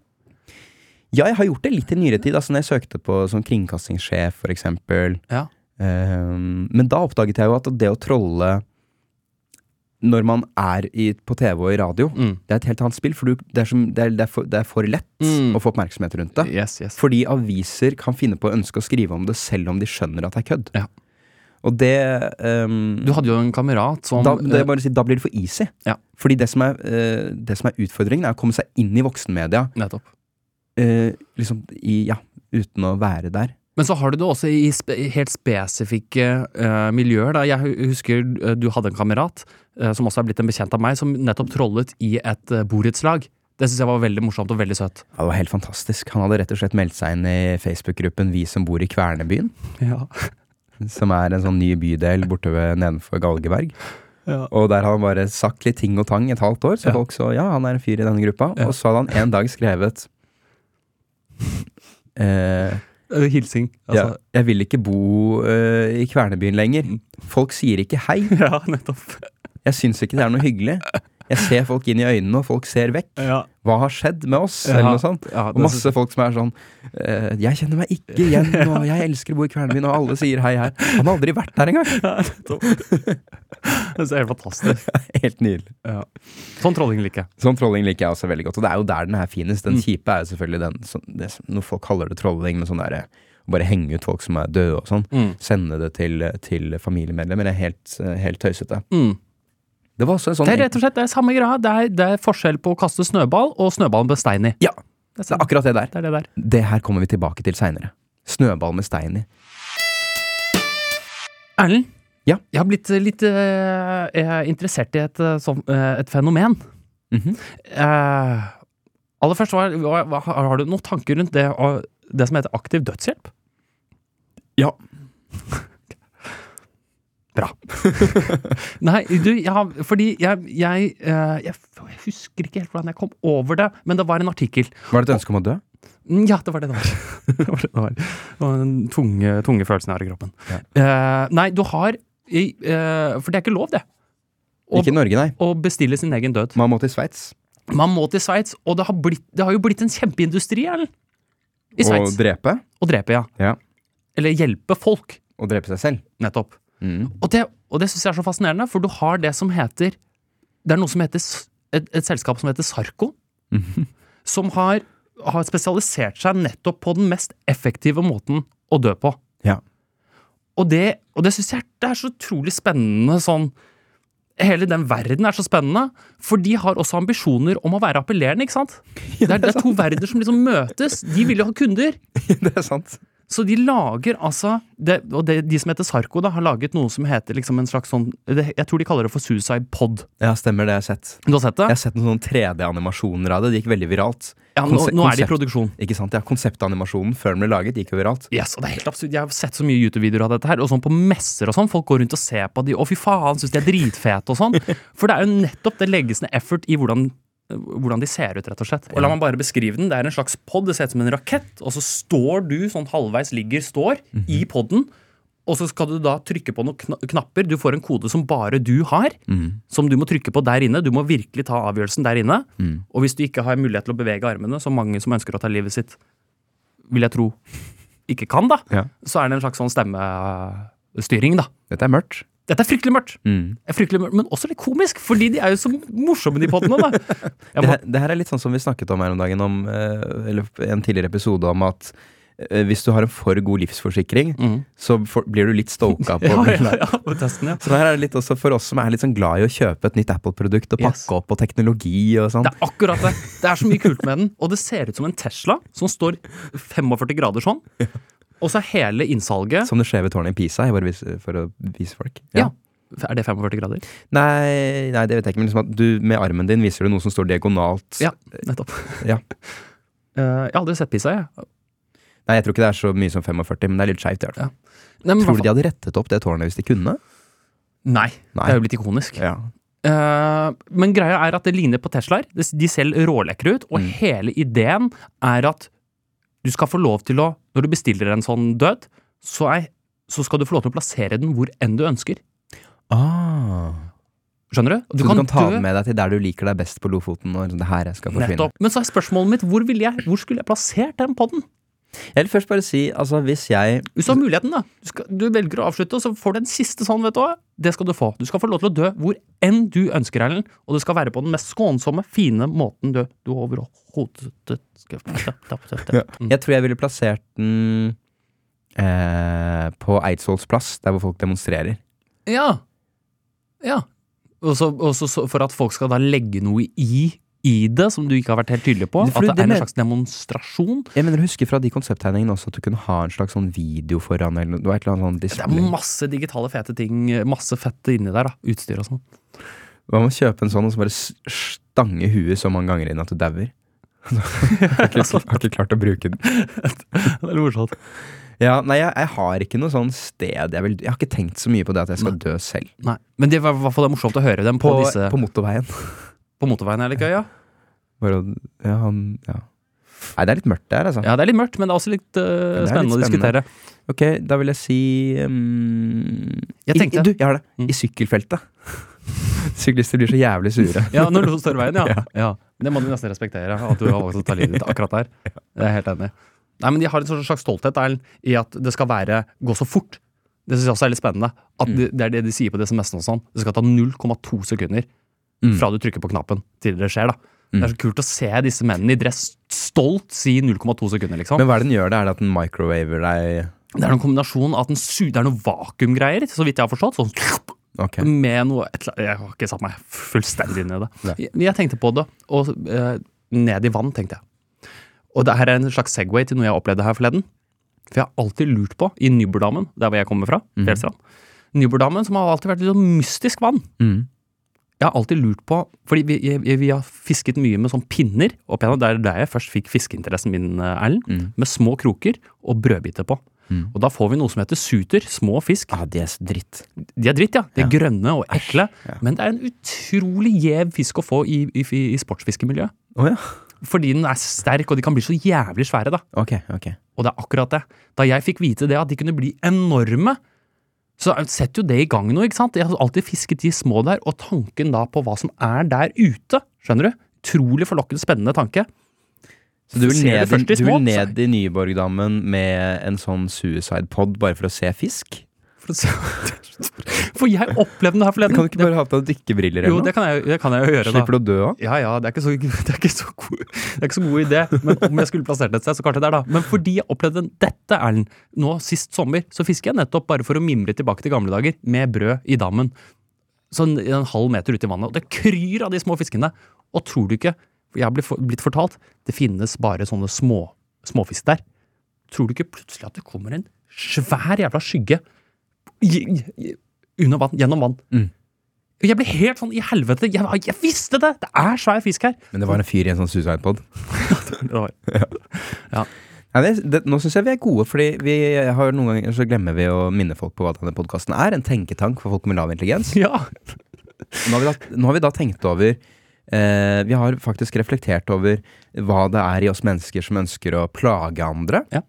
S2: Ja, jeg har gjort det litt i nyere tid. Altså når jeg søkte på som kringkastingssjef, for eksempel.
S3: Ja.
S2: Eh, men da oppdaget jeg jo at det å trolle når man er i, på TV og i radio,
S3: Mm.
S2: det er et helt annet spill. For du, det, er som, det, er, det, er for, det er for lett
S3: Mm.
S2: å få oppmerksomhet rundt det.
S3: Yes, yes.
S2: Fordi aviser kan finne på å ønske å skrive om det selv om de skjønner at det er kødd.
S3: Ja.
S2: Og det ehm,
S3: Du hadde jo en kamerat som
S2: da, det er bare å si, da blir det for easy.
S3: Ja.
S2: Fordi det som, er, eh, det som er utfordringen, er å komme seg inn i voksenmedia
S3: eh, Nettopp.
S2: eh, liksom i, ja, uten å være der.
S3: Men så har du det også i spe helt spesifikke eh, miljøer. Da. Jeg hu- husker eh, du hadde en kamerat eh, som også er blitt en bekjent av meg, som nettopp trollet i et uh, borettslag. Det syns jeg var veldig morsomt og veldig søtt.
S2: Ja, det var helt fantastisk. Han hadde rett og slett meldt seg inn i Facebook-gruppen Vi som bor i Kvernebyen,
S3: Ja,
S2: som er en sånn ny bydel borte ved nedenfor Galgeberg. Og der har han bare sagt litt ting og tang et halvt år, så
S3: Ja.
S2: folk så ja, han er en fyr i denne gruppa.
S3: Ja.
S2: Og så hadde han en dag skrevet eh, altså.
S3: Hilsing.
S2: ja, Jeg vil ikke bo eh, i Kvernebyen lenger.
S3: Mm.
S2: Folk sier ikke hei.
S3: Ja. nettopp.
S2: Jeg syns ikke det er noe hyggelig. Jeg ser folk inn i øynene, og folk ser vekk.
S3: Ja,
S2: Hva har skjedd med oss?
S3: Ja.
S2: Eller noe sånt.
S3: ja,
S2: Og masse folk som er sånn eh, Jeg kjenner meg ikke igjen, og jeg elsker å bo i Kvernebyen, og alle sier hei her. Han har aldri vært der engang!
S3: ja, nettopp. Det er helt fantastisk.
S2: Helt nydelig.
S3: Ja. Sånn trolling liker jeg.
S2: Sånn trolling liker jeg også veldig godt, og det er jo der den er finest. Den
S3: Mm.
S2: kjipe er jo selvfølgelig den som det, som- Når folk kaller det trolling, men sånn derre å bare henge ut folk som er døde og sånn.
S3: Mm.
S2: Sende det til, til familiemedlemmer. Det er helt, eh, helt tøysete.
S3: Mm.
S2: Det var også en sånn
S3: Det er rett og slett det er samme greia. Det er, det er forskjell på å kaste snøball og snøballen med stein i.
S2: Ja.
S3: Det er,
S2: Det er akkurat det der.
S3: det er det der.
S2: Det her kommer vi tilbake til seinere. Snøball med stein i.
S3: Erlend,
S2: Ja.
S3: jeg har blitt eh, litt eh, eh, interessert i et, eh, sånn, eh, et fenomen.
S2: Mhm.
S3: Eh, aller først, hva, hva, hva- har du noen tanker rundt det, og det som heter aktiv dødshjelp?
S2: Ja.
S3: Bra. Nei, du, jeg har Fordi jeg, jeg, eh, jeg Jeg husker ikke helt hvordan jeg kom over det, men det var en artikkel.
S2: Var det et ønske om å dø?
S3: Mm, Ja, det var det det var. det var, det det var. Det var den tunge, tunge følelsen jeg har i kroppen. Eh, nei, du har I, eh, for det er ikke lov, det. Og-
S2: Ikke i Norge, nei.
S3: Å bestille sin egen død.
S2: Man må til Sveits.
S3: Man må til Sveits, og det har, blitt, det har jo blitt en kjempeindustri, Erlend. I
S2: Og
S3: Sveits.
S2: drepe.
S3: Å drepe, ja.
S2: Ja.
S3: Eller hjelpe folk.
S2: Og drepe seg selv.
S3: Nettopp.
S2: Mm.
S3: Og det, og det syns jeg er så fascinerende, for du har det som heter Det er noe som heter s- et, et selskap som heter Sarco. Mhm. Som har, har spesialisert seg nettopp på den mest effektive måten å dø på.
S2: Ja.
S3: Og det, og det syns jeg er- det er så utrolig spennende sånn Hele den verden er så spennende, for de har også ambisjoner om å være appellerende, ikke sant? Det er, det er to verdener som liksom møtes. De vil jo ha kunder.
S2: det er sant.
S3: Så de lager altså det, Og det, de som heter Sarko, da, har laget noe som heter liksom en slags sånn det, Jeg tror de kaller det for Suicide Pod.
S2: Ja, stemmer det. Jeg har sett
S3: Du har
S2: Jeg
S3: sett det?
S2: har sett noen sånne 3D-animasjoner av det. Det gikk veldig viralt.
S3: Ja, nå,
S2: Konse-
S3: nå er de i
S2: konsept-
S3: produksjon.
S2: Ikke sant? Ja, Konseptanimasjonen før den ble laget, gikk jo viralt.
S3: Yes, og det er helt absurd. Jeg har sett så mye YouTube-videoer av dette her, og sånn på messer og sånn. Folk går rundt og ser på de, og fy faen, syns de er dritfete og sånn. For det er jo nettopp det legges ned effort i hvordan hvordan de ser ut, rett og slett. Og la meg bare beskrive den. Det er en slags pod, det ser ut som en rakett, og så står du sånn halvveis ligger, står, i poden, og så skal du da trykke på noen kna knapper. Du får en kode som bare du har, som du må trykke på der inne. Du må virkelig ta avgjørelsen der inne. Og hvis du ikke har mulighet til å bevege armene, som mange som ønsker å ta livet sitt, vil jeg tro ikke kan, da,
S2: Ja.
S3: så er det en slags sånn stemmestyring, da.
S2: Dette er mørkt.
S3: Dette er fryktelig mørkt,
S2: Mm.
S3: Det er fryktelig mørkt men også litt komisk, fordi de er jo så morsomme, de poddene. da. Jeg
S2: Det
S3: må,
S2: her, det her er litt sånn som vi snakket om her om dagen, om, eh, eller en tidligere episode, om at eh, hvis du har en for god livsforsikring, så får- blir du litt stoka på
S3: Mm. ja, ja, ja, på testen, ja.
S2: Så her er det litt også for oss som er litt sånn glad i å kjøpe et nytt Apple-produkt og pakke
S3: Yes.
S2: opp på teknologi og sånn.
S3: Det er akkurat det. Det er så mye kult med den. Og det ser ut som en Tesla som står 45 grader sånn. Og så er hele innsalget
S2: Som det skjeve tårnet i Pisa, jeg bare viser, for å vise folk.
S3: Ja. Er det 45 grader?
S2: Nei, nei, det vet jeg ikke, men liksom at du med armen din viser du noe som står diagonalt.
S3: Ja, nettopp.
S2: Ja.
S3: Eh, jeg har aldri sett Pisa, jeg.
S2: Nei, jeg tror ikke det er så mye som 45, men det er litt skeivt i hvert fall.
S3: Nei, men i
S2: Tror
S3: hvert
S2: du
S3: fall-
S2: de hadde rettet opp det tårnet hvis de kunne?
S3: Nei,
S2: Nei.
S3: det er jo blitt ikonisk.
S2: Ja.
S3: Eh, men greia er at det ligner på Teslaer. De de ser rålekre ut,
S2: Mm.
S3: og hele ideen er at du skal få lov til å Når du bestiller en sånn død, så, er, så skal du få lov til å plassere den hvor enn du ønsker.
S2: Ah.
S3: Skjønner du?
S2: Du så kan du kan ta den med deg til der du liker deg best på Lofoten. Og liksom, det her jeg skal forsvinne.
S3: Nettopp. Men så er spørsmålet mitt hvor, ville jeg, hvor skulle jeg plassert den podden?
S2: Jeg vil først bare si, altså hvis jeg
S3: Hvis du har muligheten, da. Du, skal, du velger å avslutte, og så får du en siste sånn, vet du hva. Det skal du få. Du skal få lov til å dø hvor enn du ønsker, Erlend. Og det skal være på den mest skånsomme, fine måten du, du overhodet skal Mm.
S2: Jeg tror jeg ville plassert den eh, på Eidsvolls plass, der hvor folk demonstrerer.
S3: Ja. Ja. Og så og så- så for at folk skal da legge noe i, i det som du ikke har vært helt tydelig på.
S2: For
S3: At det
S2: det
S3: er en
S2: men-
S3: slags demonstrasjon.
S2: Jeg mener, husker fra de konsepttegningene også at du kunne ha en slags sånn video foran, eller noe- det var et eller annet sånn
S3: Det er
S2: display.
S3: masse digitale, fete ting. Masse fett inni der. da Utstyr og sånn.
S2: Hva med å kjøpe en sånn og så bare s- stange huet så mange ganger inn at du dauer? har, ikke- har ikke klart å bruke den.
S3: Det er morsomt.
S2: Ja, nei, jeg, jeg har ikke noe sånn sted jeg vil Jeg har ikke tenkt så mye på det at jeg skal dø selv.
S3: Nei, Men det var i hvert fall det er morsomt å høre dem på,
S2: På,
S3: disse,
S2: på motorveien.
S3: på motorveien. Er det ikke, ja?
S2: Bare, å- ja, han, ja. Nei, det er litt mørkt der, altså.
S3: ja, det er litt mørkt, men det er også litt, eh,
S2: Men det er litt
S3: spennende, å diskutere.
S2: Ok, da vil jeg si um,
S3: Jeg tenkte-
S2: i, Du, jeg har det.
S3: Mm.
S2: I sykkelfeltet. Syklister blir så jævlig sure.
S3: Ja, når noen står i veien, ja. ja. Det må du nesten respektere, at du har valgt å ta livet ditt akkurat der. Det er jeg helt enig i. Nei, men De har en sånn slags stolthet Erlend, i at det skal være gå så fort. Det syns jeg også er litt spennende. At
S2: Mm.
S3: det, det er det de sier på SMS-en og sånn. Det skal ta 0,2 sekunder
S2: Mm.
S3: fra du trykker på knappen til det skjer. da Det er så kult å se disse mennene i dress stolt si 0,2 sekunder, liksom.
S2: Men hva er det den gjør? da? Er det at den microwaver deg?
S3: Det er noen kombinasjon av at den suger Det er noen vakuumgreier, så vidt jeg har forstått. Sånn
S2: Ok.
S3: med noe et, eller annet- Jeg har ikke satt meg fullstendig inn i det.
S2: Nei.
S3: Jeg, jeg tenkte på det, og eh, ned i vann, tenkte jeg. Og det her er en slags Segway til noe jeg opplevde her forleden. For jeg har alltid lurt på, i Nyberdammen, der hvor jeg kommer fra,
S2: Mhm.
S3: Fjellstrand Nyberdammen, som har alltid vært litt sånn mystisk vann.
S2: Mm.
S3: Jeg har alltid lurt på, fordi vi, vi, vi har fisket mye med sånn pinner opp igjennom. Det er der jeg først fikk fiskeinteressen min, eh, Erlend.
S2: Mm.
S3: Med små kroker og brødbiter på. Og da får vi noe som heter suter, små fisk.
S2: Ah, Mm. det er så dritt.
S3: De er dritt, ja. De er grønne og ekle. Men det er en utrolig gjev fisk å få i, i, i sportsfiskemiljøet.
S2: Å ja.
S3: Fordi den er sterk, og de kan bli så jævlig svære, da.
S2: Ok, ok.
S3: Og det er akkurat det. Da jeg fikk vite det, at de kunne bli enorme, Så setter jo det i gang noe, ikke sant? Jeg har alltid fisket de små der, og tanken da på hva som er der ute, skjønner du? Utrolig forlokkende, spennende tanke.
S2: Så du vil
S3: Ser
S2: ned,
S3: du først
S2: i-
S3: de
S2: du vil
S3: små,
S2: ned i Nyborgdammen med en sånn suicide pod bare for å se fisk?
S3: For, å se- for jeg opplevde det her forleden.
S2: Kan du ikke bare ha på deg dykkerbriller
S3: Mm. jo,
S2: eller
S3: det
S2: noe?
S3: kan, jeg, det kan jeg jo gjøre, da.
S2: Slipper du å dø òg?
S3: Ja, ja, det er ikke så, det er ikke så, god, det er ikke så god idé. Men om jeg skulle plassert det et sted, så kanskje der, da. Men fordi jeg opplevde dette, Erlend, nå sist sommer, så fisker jeg nettopp bare for å mimre tilbake til gamle dager med brød i dammen. Sånn en halv meter ute i vannet. Og det kryr av de små fiskene. Og tror du ikke, for jeg har blitt for- blitt fortalt, det finnes bare sånne små, småfisk der. Tror du ikke plutselig at det kommer en svær jævla skygge i- i- under vann, gjennom vann?
S2: Mm.
S3: Jeg ble helt sånn i helvete. Jeg, jeg visste det! Det er svær fisk her.
S2: Men det var en fyr i en sånn suicide pod.
S3: Det var-
S2: Nei, det, det, nå syns jeg vi er gode, fordi vi har noen ganger så glemmer vi å minne folk på hva denne podkasten er. En tenketank for folk med lav intelligens.
S3: Ja.
S2: Nå har vi da, nå har vi da tenkt over eh, Vi har faktisk reflektert over hva det er i oss mennesker som ønsker å plage andre.
S3: Ja.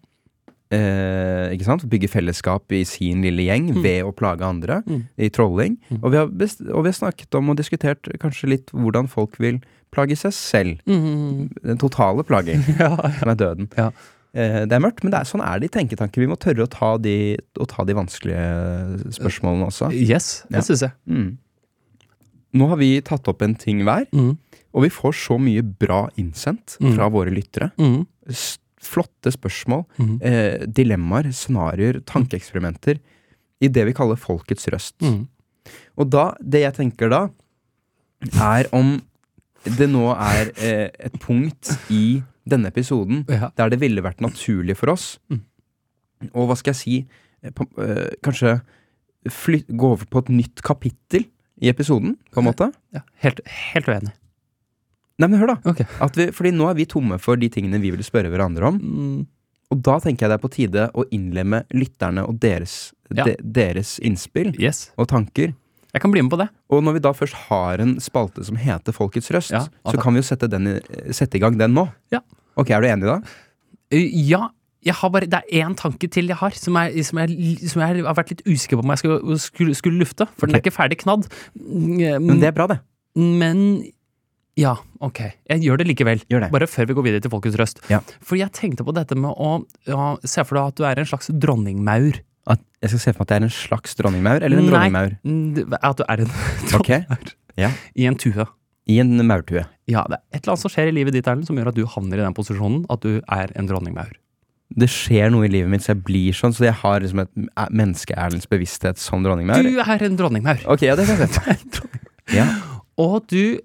S2: Eh, ikke sant? Bygge fellesskap i sin lille gjeng ved å plage andre
S3: Mm.
S2: i trolling.
S3: Mm.
S2: Og, vi har best, og vi har snakket om og diskutert kanskje litt hvordan folk vil plage seg selv.
S3: Mm,
S2: Den totale plaging,
S3: ja.
S2: som er døden.
S3: Ja.
S2: Eh, det er mørkt, men det er, sånn er det i tenketanker. Vi må tørre å ta de, å ta de vanskelige spørsmålene også.
S3: Yes,
S2: Ja.
S3: det syns jeg.
S2: Mm. Nå har vi tatt opp en ting hver.
S3: Mm.
S2: Og vi får så mye bra innsendt
S3: Mm.
S2: fra våre lyttere.
S3: Mm.
S2: S flotte spørsmål,
S3: Mm.
S2: eh, dilemmaer, scenarioer, tankeeksperimenter. I det vi kaller folkets røst.
S3: Mm.
S2: Og da, det jeg tenker da, er om det nå er eh, et punkt i denne episoden
S3: Ja.
S2: der det ville vært naturlig for oss
S3: Mm.
S2: Og hva skal jeg si eh, på, eh, Kanskje fly, gå over på et nytt kapittel i episoden, på en måte.
S3: Ja. Helt, helt uenig.
S2: Nei, men hør da.
S3: Ok.
S2: At vi, fordi nå er vi tomme for de tingene vi vil spørre hverandre om.
S3: Mm.
S2: Og da tenker jeg det er på tide å innlemme lytterne og deres,
S3: Ja.
S2: de, deres innspill
S3: Yes.
S2: og tanker.
S3: Jeg kan bli med på det.
S2: Og når vi da først har en spalte som heter Folkets røst,
S3: Ja, at-
S2: så kan vi jo sette, den i, sette i gang den nå.
S3: Ja.
S2: Ok, er du enig da?
S3: Uh, Ja, jeg har bare, det er én tanke til jeg har, som jeg, som jeg, som jeg har vært litt usikker på om jeg skulle, skulle, skulle lufte. For den
S2: Ok.
S3: er ikke ferdig knadd. Mm,
S2: Men det er bra, det.
S3: Men ja, ok. Jeg gjør det likevel.
S2: Gjør det.
S3: Bare før vi går videre til Folkets røst.
S2: Ja.
S3: For jeg tenkte på dette med å ja, Se for deg at du er en slags dronningmaur.
S2: At jeg skal se for meg at jeg er en slags dronningmaur eller en
S3: Nei.
S2: dronningmaur.
S3: Mm, At du er en
S2: Ok,
S3: i en tue.
S2: I en maurtue.
S3: Ja, det er et eller annet som skjer i livet ditt Erlend, som gjør at du havner i den posisjonen at du er en dronningmaur.
S2: Det skjer noe i livet mitt, så jeg blir sånn. Så jeg har liksom et er- menneske-Erlends bevissthet som dronningmaur.
S3: Du er en dronningmaur!
S2: Ok, ja, det kan jeg se for meg. Ja.
S3: Og du,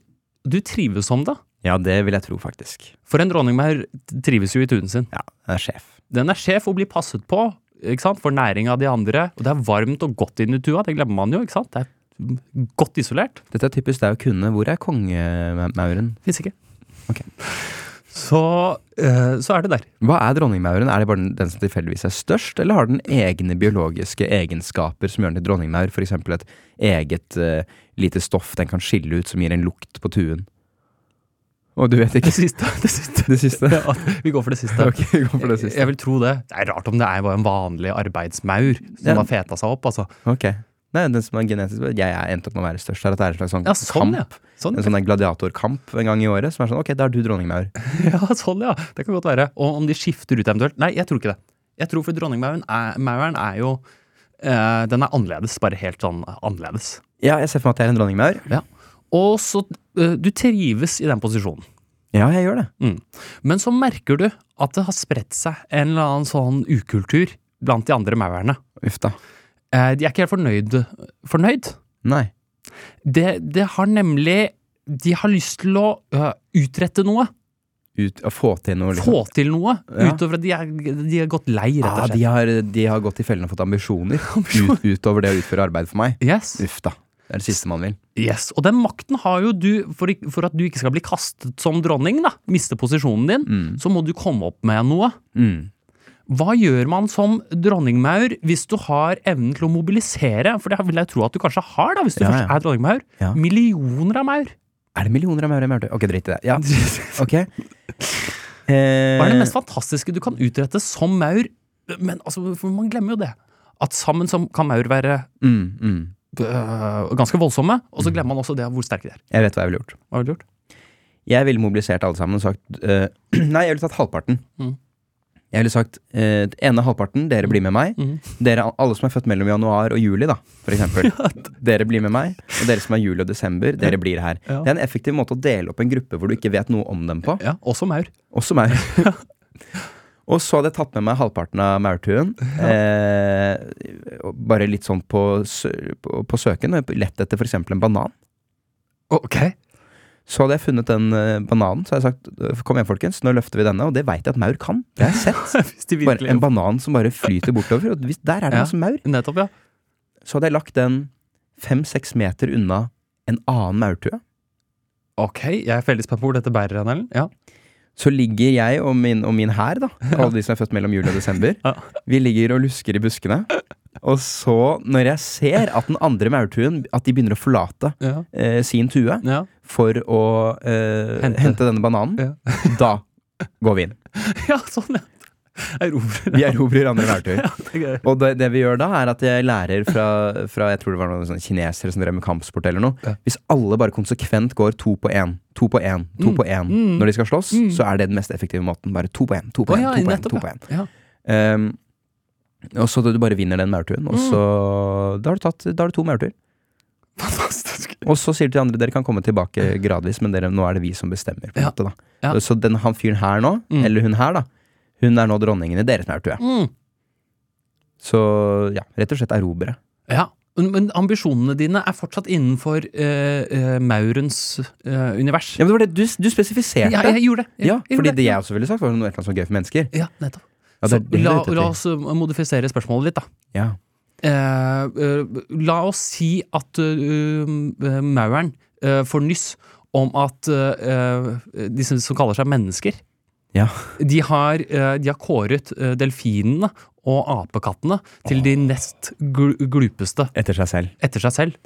S3: du trives som det.
S2: ja, det vil jeg tro, faktisk.
S3: For en dronningmaur trives jo i tuen sin.
S2: Ja, han er sjef.
S3: Den er sjef og blir passet på ikke sant? for næring av de andre. Og det er varmt og godt inni tua, det glemmer man jo. ikke sant? Det er godt isolert.
S2: Dette er typisk deg å kunne. Hvor er kongemauren?
S3: Fins ikke.
S2: Ok.
S3: Så, eh, så er det der.
S2: Hva er dronningmauren? Er det bare den, den som tilfeldigvis er størst, eller har den egne biologiske egenskaper som gjør den til dronningmaur? For eksempel et eget eh, lite stoff den kan skille ut som gir en lukt på tuen. Å, du vet
S3: Det
S2: ikke
S3: siste. Det siste.
S2: det siste?
S3: Ja, vi går for det siste.
S2: Ok, vi går for det siste.
S3: Jeg vil tro det. Det er rart om det er bare en vanlig arbeidsmaur som
S2: Ja.
S3: har feta seg opp. altså.
S2: Ok. Nei, den som er genetisk Jeg er endt opp med å være størst. Er at det er en slags sånn
S3: Ja,
S2: kamp.
S3: sånn, ja. Sånn,
S2: En sånn der gladiatorkamp en gang i året som er sånn Ok, da er du dronningmaur.
S3: ja, sånn, ja. Det kan godt være. Og om de skifter ut eventuelt. Nei, jeg tror ikke det. Jeg tror for dronningmauren er, mauren er jo eh, Den er annerledes. Bare helt sånn annerledes.
S2: Ja, jeg ser for meg at jeg er en dronningmaur.
S3: Og så eh, Du trives i den posisjonen.
S2: Ja, jeg gjør det.
S3: Men så merker du at det har spredt seg en eller annen sånn ukultur blant de andre maurene.
S2: Uff da.
S3: Eh, de er ikke helt fornøyd. fornøyd.
S2: Nei.
S3: Det, det har nemlig De har lyst til å eh, utrette noe.
S2: Ut, å få til noe, liksom.
S3: Få til noe.
S2: Ja.
S3: Utover at de er, de er gått lei, rett
S2: Ah,
S3: og slett.
S2: de, har, de har gått i fellen og fått ambisjoner
S3: Ambisjoner.
S2: ut, utover det å utføre arbeid for meg.
S3: Yes.
S2: Uff da. Det er det siste man vil.
S3: Yes, Og den makten har jo du for, ikk- for at du ikke skal bli kastet som dronning, da, miste posisjonen din,
S2: Mm.
S3: så må du komme opp med noe.
S2: Mm.
S3: Hva gjør man som dronningmaur hvis du har evnen til å mobilisere? For det vil jeg tro at du kanskje har, da, hvis du
S2: Ja,
S3: først
S2: ja.
S3: er dronningmaur.
S2: Ja.
S3: Millioner av maur.
S2: Er det millioner av maur i maurtue? Ok, drit i det. Ja, ok. Eh,
S3: Hva er det mest fantastiske du kan utrette som maur? Men altså, for man glemmer jo det. at sammen så kan maur være
S2: Mm, mm.
S3: øh, ganske voldsomme, og så glemmer man også det hvor sterke de er.
S2: Jeg vet hva jeg ville gjort.
S3: Hva har du gjort?
S2: Jeg ville mobilisert alle sammen og sagt eh, Nei, jeg ville tatt halvparten.
S3: Mm.
S2: Jeg ville sagt uh, ene halvparten, dere blir med meg.
S3: Mhm.
S2: Dere, alle som er født mellom januar og juli, da, for eksempel. dere blir med meg. Og dere som er juli og desember, dere blir her.
S3: Ja.
S2: Det er en effektiv måte å dele opp en gruppe hvor du ikke vet noe om dem på.
S3: Ja, også maur.
S2: Også maur. og så hadde jeg tatt med meg halvparten av maurtuen. Eh, og bare litt sånn på, sø- på, på søken. og Lett etter f.eks. en banan.
S3: Ok.
S2: Så hadde jeg funnet den eh, bananen, så hadde jeg sagt "Øh, kom igjen, folkens, nå løfter vi denne. Og det veit jeg at maur kan. Det har jeg sett.
S3: Hvis de
S2: Bare
S3: virkelig
S2: en banan som bare flyter bortover. Og hvis der er det
S3: Ja.
S2: masse maur.
S3: Nettopp, ja.
S2: Så hadde jeg lagt den fem-seks meter unna en annen maurtue.
S3: Ok, jeg er veldig spent på hvor dette bærer hen, Ellen. Ja.
S2: Så ligger jeg og min, og min hær, da, alle de som er født mellom juli og desember,
S3: Ja.
S2: vi ligger og lusker i buskene. Og så, når jeg ser at den andre maurtuen At de begynner å forlate
S3: Ja.
S2: eh, sin tue
S3: ja.
S2: for å eh,
S3: Hente.
S2: hente. denne bananen, da går vi inn.
S3: ja, sånn, ja. Erobrer.
S2: Vi erobrer andre maurtuer.
S3: Det er gøy.
S2: Og det, det vi gjør da, er at jeg lærer fra, fra jeg tror det var noen sånne kinesere som drev med kampsport eller noe.
S3: Ja.
S2: Hvis alle bare konsekvent går to på én, to på én, to på én
S3: Mm.
S2: når de skal slåss,
S3: Mm.
S2: så er det den mest effektive måten. Bare to på én, to på
S3: Å
S2: én,
S3: ja,
S2: to på én.
S3: nettopp,
S2: to på én.
S3: Ja.
S2: Ehm, og så du bare vinner den maurtuen, og
S3: Mm.
S2: så da har du, tatt, da har du to maurtuer.
S3: Fantastisk.
S2: Og så sier du til de andre dere kan komme tilbake gradvis, men dere, nå er det vi som bestemmer. På en
S3: Ja.
S2: måte, da.
S3: Ja.
S2: Så den han fyren her nå,
S3: Mm.
S2: eller hun her, da, hun er nå dronningen i deres maurtue.
S3: Mm.
S2: Så ja, rett og slett erobre.
S3: Ja. Men, men ambisjonene dine er fortsatt innenfor eh, eh, maurens eh, univers.
S2: Ja, men det var det du, du spesifiserte.
S3: Ja, jeg gjorde det. Jeg,
S2: Ja,
S3: jeg
S2: fordi
S3: gjorde
S2: det jeg også ville sagt, var noe et eller annet som var gøy for mennesker.
S3: Ja, nettopp.
S2: Ja, det
S3: Så
S2: er det du
S3: la,
S2: er ute
S3: la
S2: etter.
S3: oss eh, modifisere spørsmålet litt, da.
S2: Ja.
S3: Eh, eh, la oss si at uh, mauren eh, får nyss om at eh, eh, de som, som kaller seg mennesker,
S2: Ja.
S3: de har, eh, de har kåret eh, delfinene og apekattene til de nest gl glupeste
S2: Etter seg selv.
S3: etter seg selv.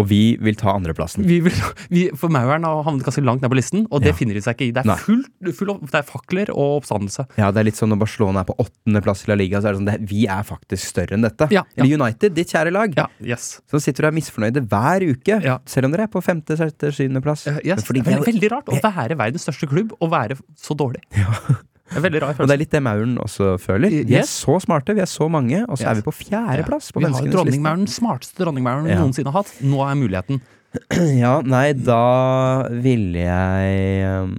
S2: Og vi vil ta andreplassen.
S3: Vi vil, vi, for mauren har havnet ganske langt ned på listen, og det
S2: Mm. Ja.
S3: finner de seg ikke i. Det
S2: Nei.
S3: er, fullt, full, opp- det er fakler og oppstandelse.
S2: Ja, det er litt sånn når Barcelona er på åttendeplass i La Liga, så er det sånn det, vi er faktisk større enn dette.
S3: Ja, ja.
S2: Eller United, ditt kjære lag,
S3: Ja, yes.
S2: som sitter og er misfornøyde hver uke,
S3: Ja.
S2: selv om dere er på femte, sjette, syvendeplass.
S3: Eh, yes.
S2: Men fordi
S3: det er
S2: vi
S3: veldig rart
S2: eh.
S3: å være verdens største klubb og være så dårlig. Det er en veldig rar
S2: Og
S3: følelse.
S2: det er litt det Mauren også føler. Vi er
S3: Eh, Yes.
S2: så smarte, vi er så mange, og så
S3: Yes.
S2: er vi på fjerdeplass på
S3: Vi har jo
S2: menneskenes liste.
S3: dronningmauren, smarteste dronningmauren vi
S2: Ja.
S3: noensinne har hatt. Nå er muligheten.
S2: Ja, nei, da ville jeg um,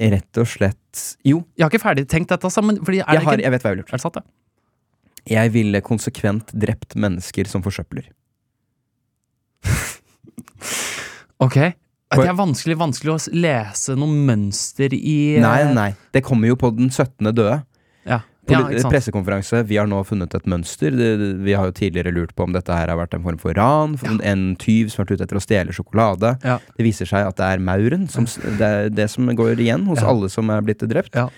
S2: Rett og slett Jo,
S3: Jeg har ikke ferdig tenkt dette, altså, men fordi er,
S2: jeg,
S3: det
S2: har,
S3: ikke,
S2: jeg vet hva jeg ville gjort.
S3: er det sant, det?
S2: Jeg ville konsekvent drept mennesker som forsøpler.
S3: Ok. Det er vanskelig, vanskelig å s- lese noe mønster i eh,
S2: Nei, nei. Det kommer jo på den 17. døde.
S3: Ja, ja
S2: Poli-
S3: ikke sant.
S2: pressekonferanse. Vi har nå funnet et mønster. Det- det- Vi har jo tidligere lurt på om dette her har vært en form for ran. for En tyv som har vært ute etter å stjele sjokolade.
S3: Ja.
S2: Det viser seg at det er mauren. Som, s- det, er det som går igjen hos
S3: Ja.
S2: alle som er blitt drept,
S3: Ja.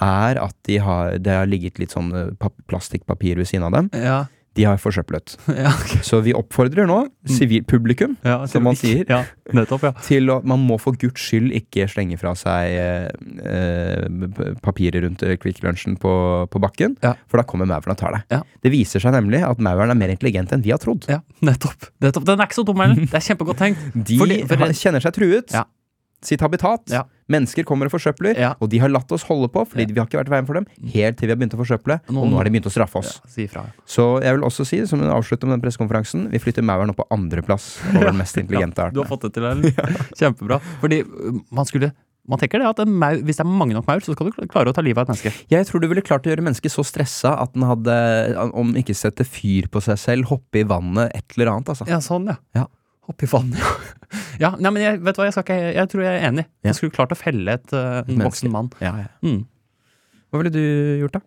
S2: er at de har, det har ligget litt sånn eh, pap- plastikkpapir ved siden av dem.
S3: Ja,
S2: De har forsøplet.
S3: ja, ok.
S2: Så vi oppfordrer nå
S3: Mm.
S2: sivil publikum
S3: ja,
S2: Som man sier.
S3: Ja, nettopp, ja.
S2: til å Man må for guds skyld ikke slenge fra seg eh, eh, p- papiret rundt eh, Quick Lunsjen på, på bakken,
S3: Ja.
S2: for da kommer mauren og tar deg.
S3: Ja.
S2: Det viser seg nemlig at mauren er mer intelligent enn vi har trodd.
S3: ja nettopp. nettopp. Den er ikke så dum, Erlend. Det er kjempegodt tenkt.
S2: De
S3: For det- for
S2: ha-
S3: det-
S2: kjenner seg truet.
S3: Ja.
S2: Sitt habitat.
S3: Ja.
S2: Mennesker kommer og forsøpler,
S3: Ja.
S2: og de har latt oss holde på fordi
S3: Ja.
S2: vi har ikke vært i veien for dem, helt til vi har begynt å forsøple,
S3: Nå-
S2: og nå har de begynt å straffe oss.
S3: Ja, si ifra. ja.
S2: Så jeg vil også si, som en avslutning om den pressekonferansen, vi flytter mauren opp på andreplass over den mest intelligente
S3: Du
S2: arten.
S3: har fått det til, Erlend. Kjempebra. Fordi øh, man skulle man tenker det at en maur, Hvis det er mange nok maur, så skal du klare å ta livet av et menneske.
S2: Jeg tror du ville klart å gjøre mennesket så stressa at den hadde, om ikke sette fyr på seg selv, hoppe i vannet, et eller annet, altså.
S3: Ja, sånn, ja.
S2: Ja.
S3: Oppi vannet, ja. ja. Nei, men jeg, vet du hva, jeg, skal ikke, jeg tror jeg er enig.
S2: Ja.
S3: Jeg skulle klart å felle et, eh, en
S2: Menneske.
S3: voksen mann.
S2: Ja, ja.
S3: Mm.
S2: Hva ville du gjort, da?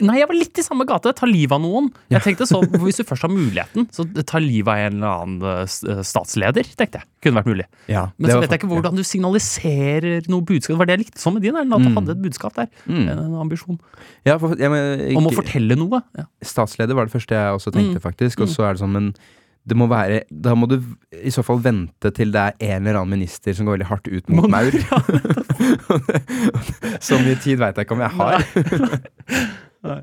S3: Nei, jeg var litt i samme gate. Ta livet av noen.
S2: Ja.
S3: Jeg tenkte så, Hvis du først har muligheten, så ta livet av en eller annen eh, s- eh, statsleder, tenkte jeg. Kunne vært mulig. Men så vet jeg ikke hvordan du signaliserer noe budskap. Det var det jeg likte sånn med din, Erlend, at du
S2: Mm.
S3: hadde et budskap der.
S2: Mm.
S3: En ambisjon.
S2: Ja, for, ja, men, ikke,
S3: Om å fortelle noe. Ja.
S2: Statsleder var det første jeg også tenkte, faktisk. Og så er det sånn, men det må være Da må du i så fall vente til det er en eller annen minister som går veldig hardt ut mot
S3: Må-
S2: maur. så mye tid veit jeg ikke om jeg har.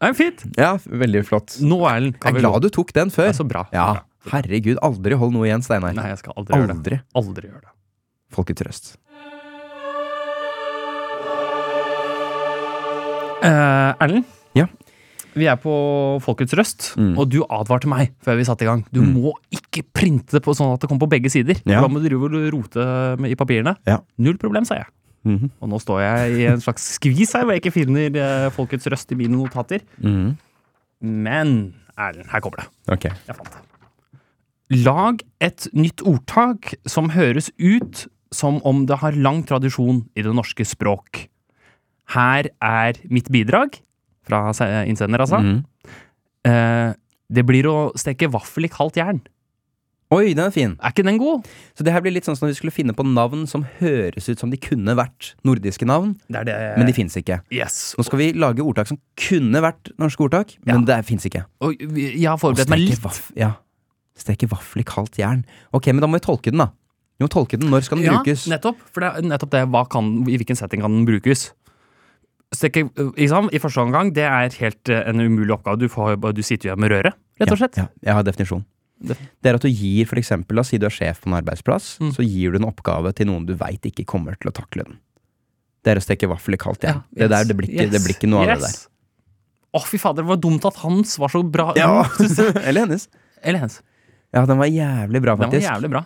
S3: Nei, fint!
S2: Ja, veldig flott.
S3: Nå, Erlend, kan
S2: Jeg er
S3: vi gå.
S2: glad du tok den
S3: Det
S2: før.
S3: er så bra.
S2: Ja, herregud. Aldri hold noe igjen, Steinar.
S3: Nei, jeg skal aldri, gjøre det.
S2: Aldri.
S3: Aldri gjøre det.
S2: Folket trøst.
S3: Eh, Erlend?
S2: Ja.
S3: Vi er på Folkets Røst,
S2: Mm.
S3: og du advarte meg før vi satte i gang. Du må ikke printe det på sånn at det kommer på begge sider.
S2: Ja.
S3: Da må du drive og rote med, i papirene.
S2: Ja.
S3: Null problem, sa jeg.
S2: Mhm.
S3: Og nå står jeg i en slags skvis her, hvor jeg ikke finner eh, Folkets Røst i mine notater.
S2: Mhm.
S3: Men Erlend, her kommer det.
S2: Ok.
S3: Jeg fant det. Lag et nytt ordtak som høres ut som om det har lang tradisjon i det norske språk. Her er mitt bidrag, fra se- innsender, altså.
S2: Mhm.
S3: Eh, det blir å steke vaffel i kaldt jern.
S2: Oi, den er fin.
S3: Er ikke den god?
S2: Så det her blir litt sånn som når vi skulle finne på navn som høres ut som de kunne vært nordiske navn,
S3: Det er det.
S2: men de fins ikke.
S3: yes.
S2: Nå skal vi lage ordtak som kunne vært norske ordtak, men det fins ikke.
S3: Og vi- jeg har forberedt meg
S2: Steke
S3: litt.
S2: vaff- ja. Steke vaffel i kaldt jern. Ok, men da må vi tolke den, da. Vi må tolke den. Når skal den
S3: Ja,
S2: brukes?
S3: nettopp. For det er nettopp det. Hva kan, I hvilken setting kan den brukes? Steke, ikke sant? I første omgang, det er helt eh, en umulig oppgave. Du, får, du sitter jo igjen med røret, rett og slett.
S2: Ja, ja, jeg har definisjon.
S3: Det-
S2: Det er at du gir, for eksempel, la oss si du er sjef på en arbeidsplass,
S3: Mm.
S2: så gir du en oppgave til noen du veit ikke kommer til å takle den. Det er å steke vaffel i kaldt jern.
S3: Ja,
S2: Det,
S3: yes,
S2: der, det, blir ikke, det
S3: yes,
S2: blir ikke noe av det
S3: yes. Å, fy fader, det var dumt at hans var så bra.
S2: der. Ja, Eller hennes.
S3: Eller hennes.
S2: Ja, den var jævlig bra,
S3: Den var
S2: faktisk.
S3: jævlig bra.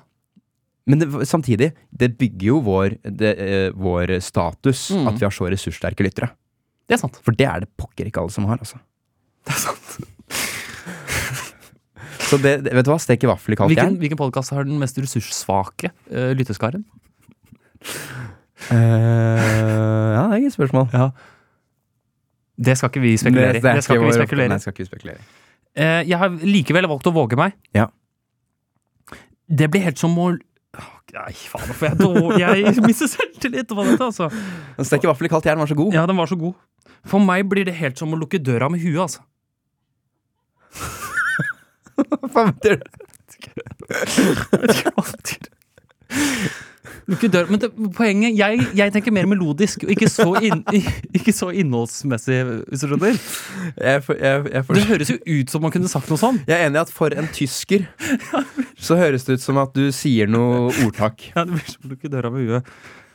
S2: Men det, samtidig, det bygger jo vår, det, eh, vår status
S3: Mm.
S2: at vi har så ressurssterke lyttere.
S3: Det er sant.
S2: For det er det pokker ikke alle som har, altså.
S3: Det er sant.
S2: Så det, det, vet du hva, steke vaffel i kaldt
S3: Hvilken,
S2: jern.
S3: hvilken podkast har den mest ressurssvake eh, lytteskaren?
S2: Eh, ja, det er ikke et spørsmål.
S3: Det skal ikke vi spekulere i. Det skal ikke vi
S2: vår-
S3: spekulere
S2: Nei,
S3: i.
S2: det skal ikke vi spekulere. i.
S3: Eh, jeg har likevel valgt å våge meg.
S2: Ja.
S3: Det blir helt som å Åh, Nei, faen, nå får jeg dårlig Jeg mister selvtillit på dette, altså.
S2: Men Steke vaffel i kaldt jern var så god.
S3: Ja, den var så god. For meg blir det helt som å lukke døra med huet, altså.
S2: Hva betyr det?
S3: Lukke døra Men det, poenget jeg, jeg tenker mer melodisk, og ikke så, inn, ikke så innholdsmessig. Hvis du skjønner.
S2: Jeg, for- jeg, jeg, for,
S3: Det høres jo ut som man kunne sagt noe sånn.
S2: jeg er enig i at for en tysker så høres det ut som at du sier noe ordtak.
S3: Ja, det blir som å lukke døra med huet.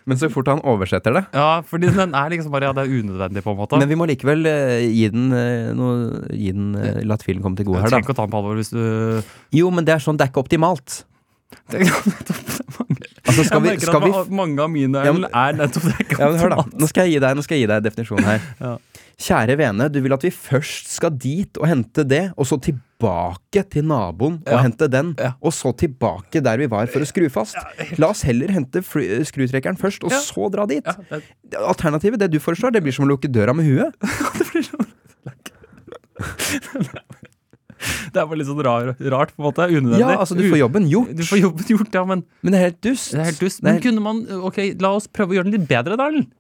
S2: Men så fort han oversetter det
S3: Ja, fordi den er liksom bare Ja, det er unødvendig, på en måte.
S2: Men vi må likevel eh, gi den, eh, noe, gi den eh, La tvilen komme til gode her, da.
S3: Trenger ikke å ta den på alvor hvis du
S2: Jo, men det er sånn, det er ikke optimalt.
S3: Skal
S2: Altså, skal vi,
S3: Jeg merker
S2: skal vi
S3: at ma- mange av mine
S2: Ja, men-
S3: er nettopp det.
S2: ja, men Hør, da. Nå skal jeg gi deg, nå skal jeg gi deg definisjonen her.
S3: Ja.
S2: Kjære vene, du vil at vi først skal dit og hente det, og så tilbake til naboen og
S3: Ja.
S2: hente den,
S3: Ja.
S2: og så tilbake der vi var for å skru fast. La oss heller hente fly, eh, skrutrekkeren først, og
S3: Ja.
S2: så dra dit.
S3: Ja, det,
S2: Alternativet, det du foreslår, det blir som å lukke døra med huet.
S3: det er bare litt sånn rar, rart, på en måte. Unødvendig.
S2: Ja, altså, du får jobben gjort,
S3: Du får jobben gjort, ja, men
S2: men det er helt dust.
S3: Det er helt dust.
S2: Det er
S3: Men kunne man Ok, la oss prøve å gjøre den litt bedre, da. Erlend.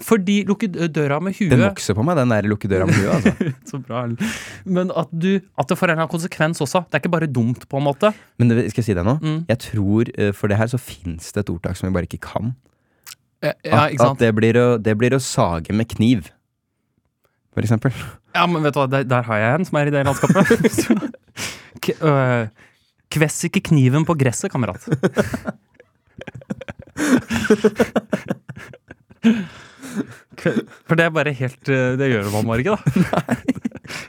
S3: Fordi lukke d- døra med
S2: Den
S3: huet
S2: vokser på meg, den der lukke døra med huet, altså.
S3: Så bra, Erlend. Men at, du, at det får en eller annen konsekvens også. Det er ikke bare dumt, på en måte.
S2: Men det, skal jeg si deg noe?
S3: Mm.
S2: Jeg tror eh, for det her så fins det et ordtak som vi bare ikke kan.
S3: Ja, ja,
S2: at,
S3: ikke sant?
S2: at det, blir å, det blir å sage med kniv, for eksempel.
S3: Ja, men vet du hva, der, der har jeg en som er i det landskapet. K øh, kvess ikke kniven på gresset, kamerat. Kve- For det er bare helt øh, Det gjør man bare ikke, da.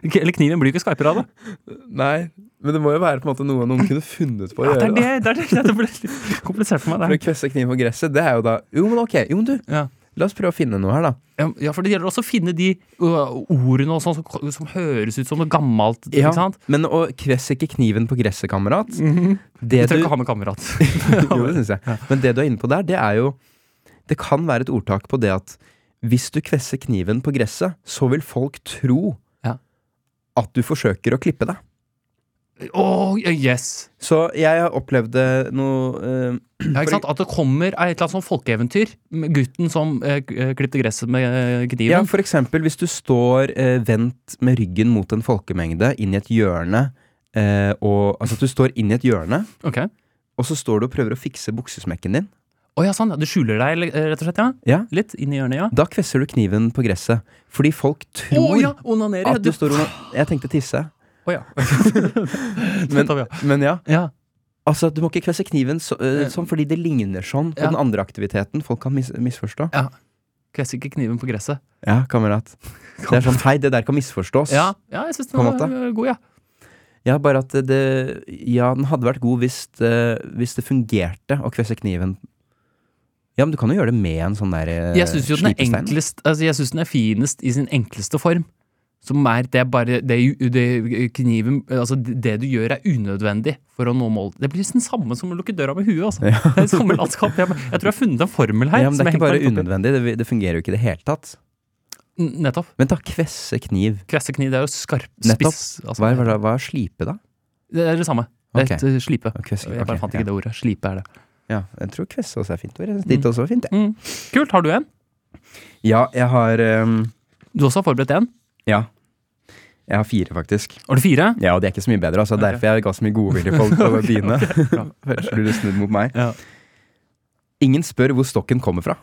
S3: Ikke- Eller kniven blir jo ikke skarpere av det.
S2: Nei, men det må jo være på en måte noe noen kunne funnet på
S3: Ja, det, er det, det, er det. det ble litt komplisert for meg.
S2: For
S3: Det.
S2: å kvesse kniv på gresset, det er jo da Jo, men ok, jo, men du,
S3: her. Ja.
S2: la oss prøve å finne noe her, da.
S3: ja, for det gjelder også å finne de øh, ordene og sånn som, som høres ut som noe gammelt.
S2: Ja,
S3: Ikke sant?
S2: Men å kvesse ikke kniven på gresset, kamerat,
S3: Mhm.
S2: det du
S3: Du trenger ikke ha med kamerat.
S2: Jo, det synes jeg. Men det du er inne på der, det er jo Det kan være et ordtak på det at hvis du kvesser kniven på gresset, så vil folk tro
S3: Ja.
S2: at du forsøker å klippe deg.
S3: Åh, yes!
S2: Så jeg opplevde noe eh,
S3: Ja, ikke
S2: Fordi-
S3: sant? At det kommer et eller annet sånn folkeeventyr med gutten som eh, k- eh, klippte gresset med eh,
S2: Ja,
S3: kniven.
S2: for eksempel hvis du står eh, vendt med ryggen mot en folkemengde inn i et hjørne, eh, og, altså at du står inn i et hjørne,
S3: Ok.
S2: og så står du og prøver å fikse buksesmekken din.
S3: Å ja, sånn. ja. Du skjuler deg le- rett og slett, ja?
S2: Ja.
S3: Litt inn i hjørnet, ja?
S2: Da kvesser du kniven på gresset. Fordi folk
S3: Å
S2: tror
S3: ja! Onanerer.
S2: at du
S3: ja,
S2: står under Jeg tenkte tisse.
S3: Å ja.
S2: Men,
S3: tar vi,
S2: men ja.
S3: ja.
S2: Altså, du må ikke kvesse kniven så, øh,
S3: Ja.
S2: sånn fordi det ligner sånn på
S3: Ja.
S2: den andre aktiviteten. Folk kan mis misforstå.
S3: Kvesser ikke kniven på gresset.
S2: Ja, kamerat. Det er sånn Hei, det der kan misforstås.
S3: Ja, ja jeg syns den
S2: På en
S3: var øh, god, ja.
S2: Ja, bare at det Ja, den hadde vært god hvis det, hvis det fungerte å kvesse kniven. Ja, men du kan jo gjøre det med en sånn der eh,
S3: Jeg syns jo den er
S2: slipestein.
S3: enklest altså Jeg synes den er finest i sin enkleste form. Som er det er bare det, er jo- det er kniven Altså, det du gjør, er unødvendig for å nå målet. Det blir den samme som å lukke døra med huet, altså. Det er samme landskap. Jeg, jeg tror jeg har funnet en formel her.
S2: Ja, men
S3: som
S2: det er
S3: jeg
S2: ikke bare
S3: henger meg litt opp
S2: unødvendig. Det, det fungerer jo ikke i det hele tatt.
S3: i. N- Nettopp.
S2: Men da, kvesse kniv.
S3: Kvesse kniv, det er jo skarp
S2: Nettopp.
S3: spiss. Altså,
S2: Hva er, hva er, hva er slipe, da?
S3: Det er det samme. Det er
S2: Ok.
S3: et øh, slipe.
S2: Å, Kvesse,
S3: Jeg bare
S2: ok,
S3: fant ikke
S2: ja.
S3: det ordet. Slipe er det.
S2: Ja, jeg tror kvesse også er fint ord. Jeg synes
S3: Mm.
S2: Ditt også var fint, jeg.
S3: Mm. Kult. Har du en?
S2: Ja, jeg har ehm,
S3: Du også har forberedt en?
S2: Ja. Jeg har fire, faktisk.
S3: Har du fire?
S2: Ja, og det er ikke så mye bedre. Altså.
S3: Ok.
S2: Derfor jeg ga så mye godvilje på, på dine. Først blir du snudd mot meg.
S3: Ja.
S2: Ingen spør hvor stokken kommer fra.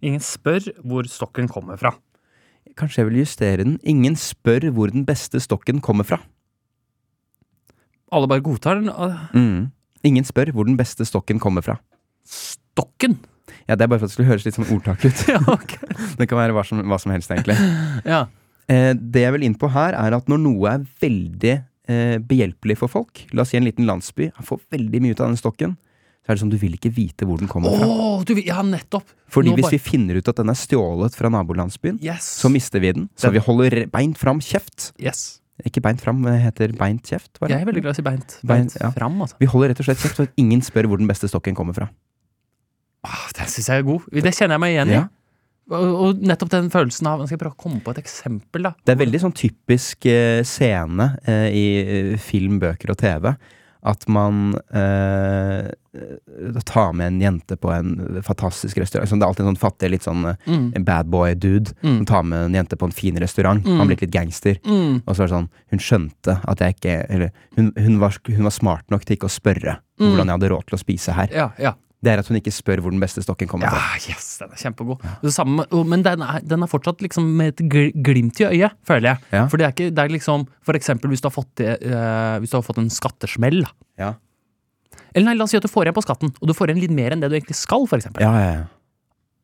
S3: Ingen spør hvor stokken kommer fra.
S2: Kanskje jeg vil justere den. Ingen spør hvor den beste stokken kommer fra.
S3: Alle bare godtar den. Ah,
S2: Mm. Ingen spør hvor den beste stokken kommer fra.
S3: Stokken!
S2: Ja, Det er bare for at det skulle høres litt sånn ordtak ut.
S3: Ja, ok.
S2: Det kan være hva som, hva som helst, egentlig.
S3: Ja.
S2: Eh, det jeg vil inn på her, er at når noe er veldig eh, behjelpelig for folk La oss si en liten landsby han får veldig mye ut av den stokken. Så er det sånn, du vil ikke vite hvor den kommer fra.
S3: Åh, du, vil- ja, nettopp!
S2: Fordi
S3: Nå
S2: hvis
S3: bare-
S2: vi finner ut at den er stjålet fra nabolandsbyen,
S3: Yes.
S2: så mister vi den. Så
S3: Den-
S2: vi holder beint fram kjeft.
S3: yes.
S2: Ikke beint fram, det heter beint kjeft. var det?
S3: Jeg er veldig glad i å si beint,
S2: Beint,
S3: beint
S2: ja.
S3: fram, altså.
S2: Vi holder rett og slett kjeft, så at ingen spør hvor den beste stokken kommer fra.
S3: Ah, den syns jeg er god. Det kjenner jeg meg igjen i.
S2: Ja.
S3: Og, og nettopp den følelsen av Skal jeg prøve å komme på et eksempel, da?
S2: Det er veldig sånn typisk eh, scene eh, i eh, film, bøker og TV. At man eh, eh, tar med en jente på en fantastisk restaurant. Sånn, Det er alltid en sånn fattig, litt sånn eh,
S3: Mm.
S2: bad boy-dude.
S3: Mm.
S2: Som tar med en jente på en fin restaurant.
S3: Mm.
S2: Han blir litt gangster.
S3: Mm.
S2: Og så er det sånn, hun skjønte at jeg ikke Eller hun, hun, var, hun var smart nok til ikke å spørre
S3: Mm.
S2: hvordan jeg hadde råd til å spise her.
S3: Ja, ja.
S2: Det er at hun ikke spør hvor den beste stokken kommer
S3: ja.
S2: fra.
S3: Yes, den er kjempegod. Det samme, og- men den er, den er fortsatt liksom med et gl- glimt i øyet, føler jeg.
S2: Ja.
S3: For det er ikke det er liksom For eksempel hvis du har fått, det, eh, hvis du har fått en skattesmell, da.
S2: Ja.
S3: Eller nei, la oss si at du får igjen på skatten, og du får igjen litt mer enn det du egentlig skal, for eksempel.
S2: Ja, ja, ja.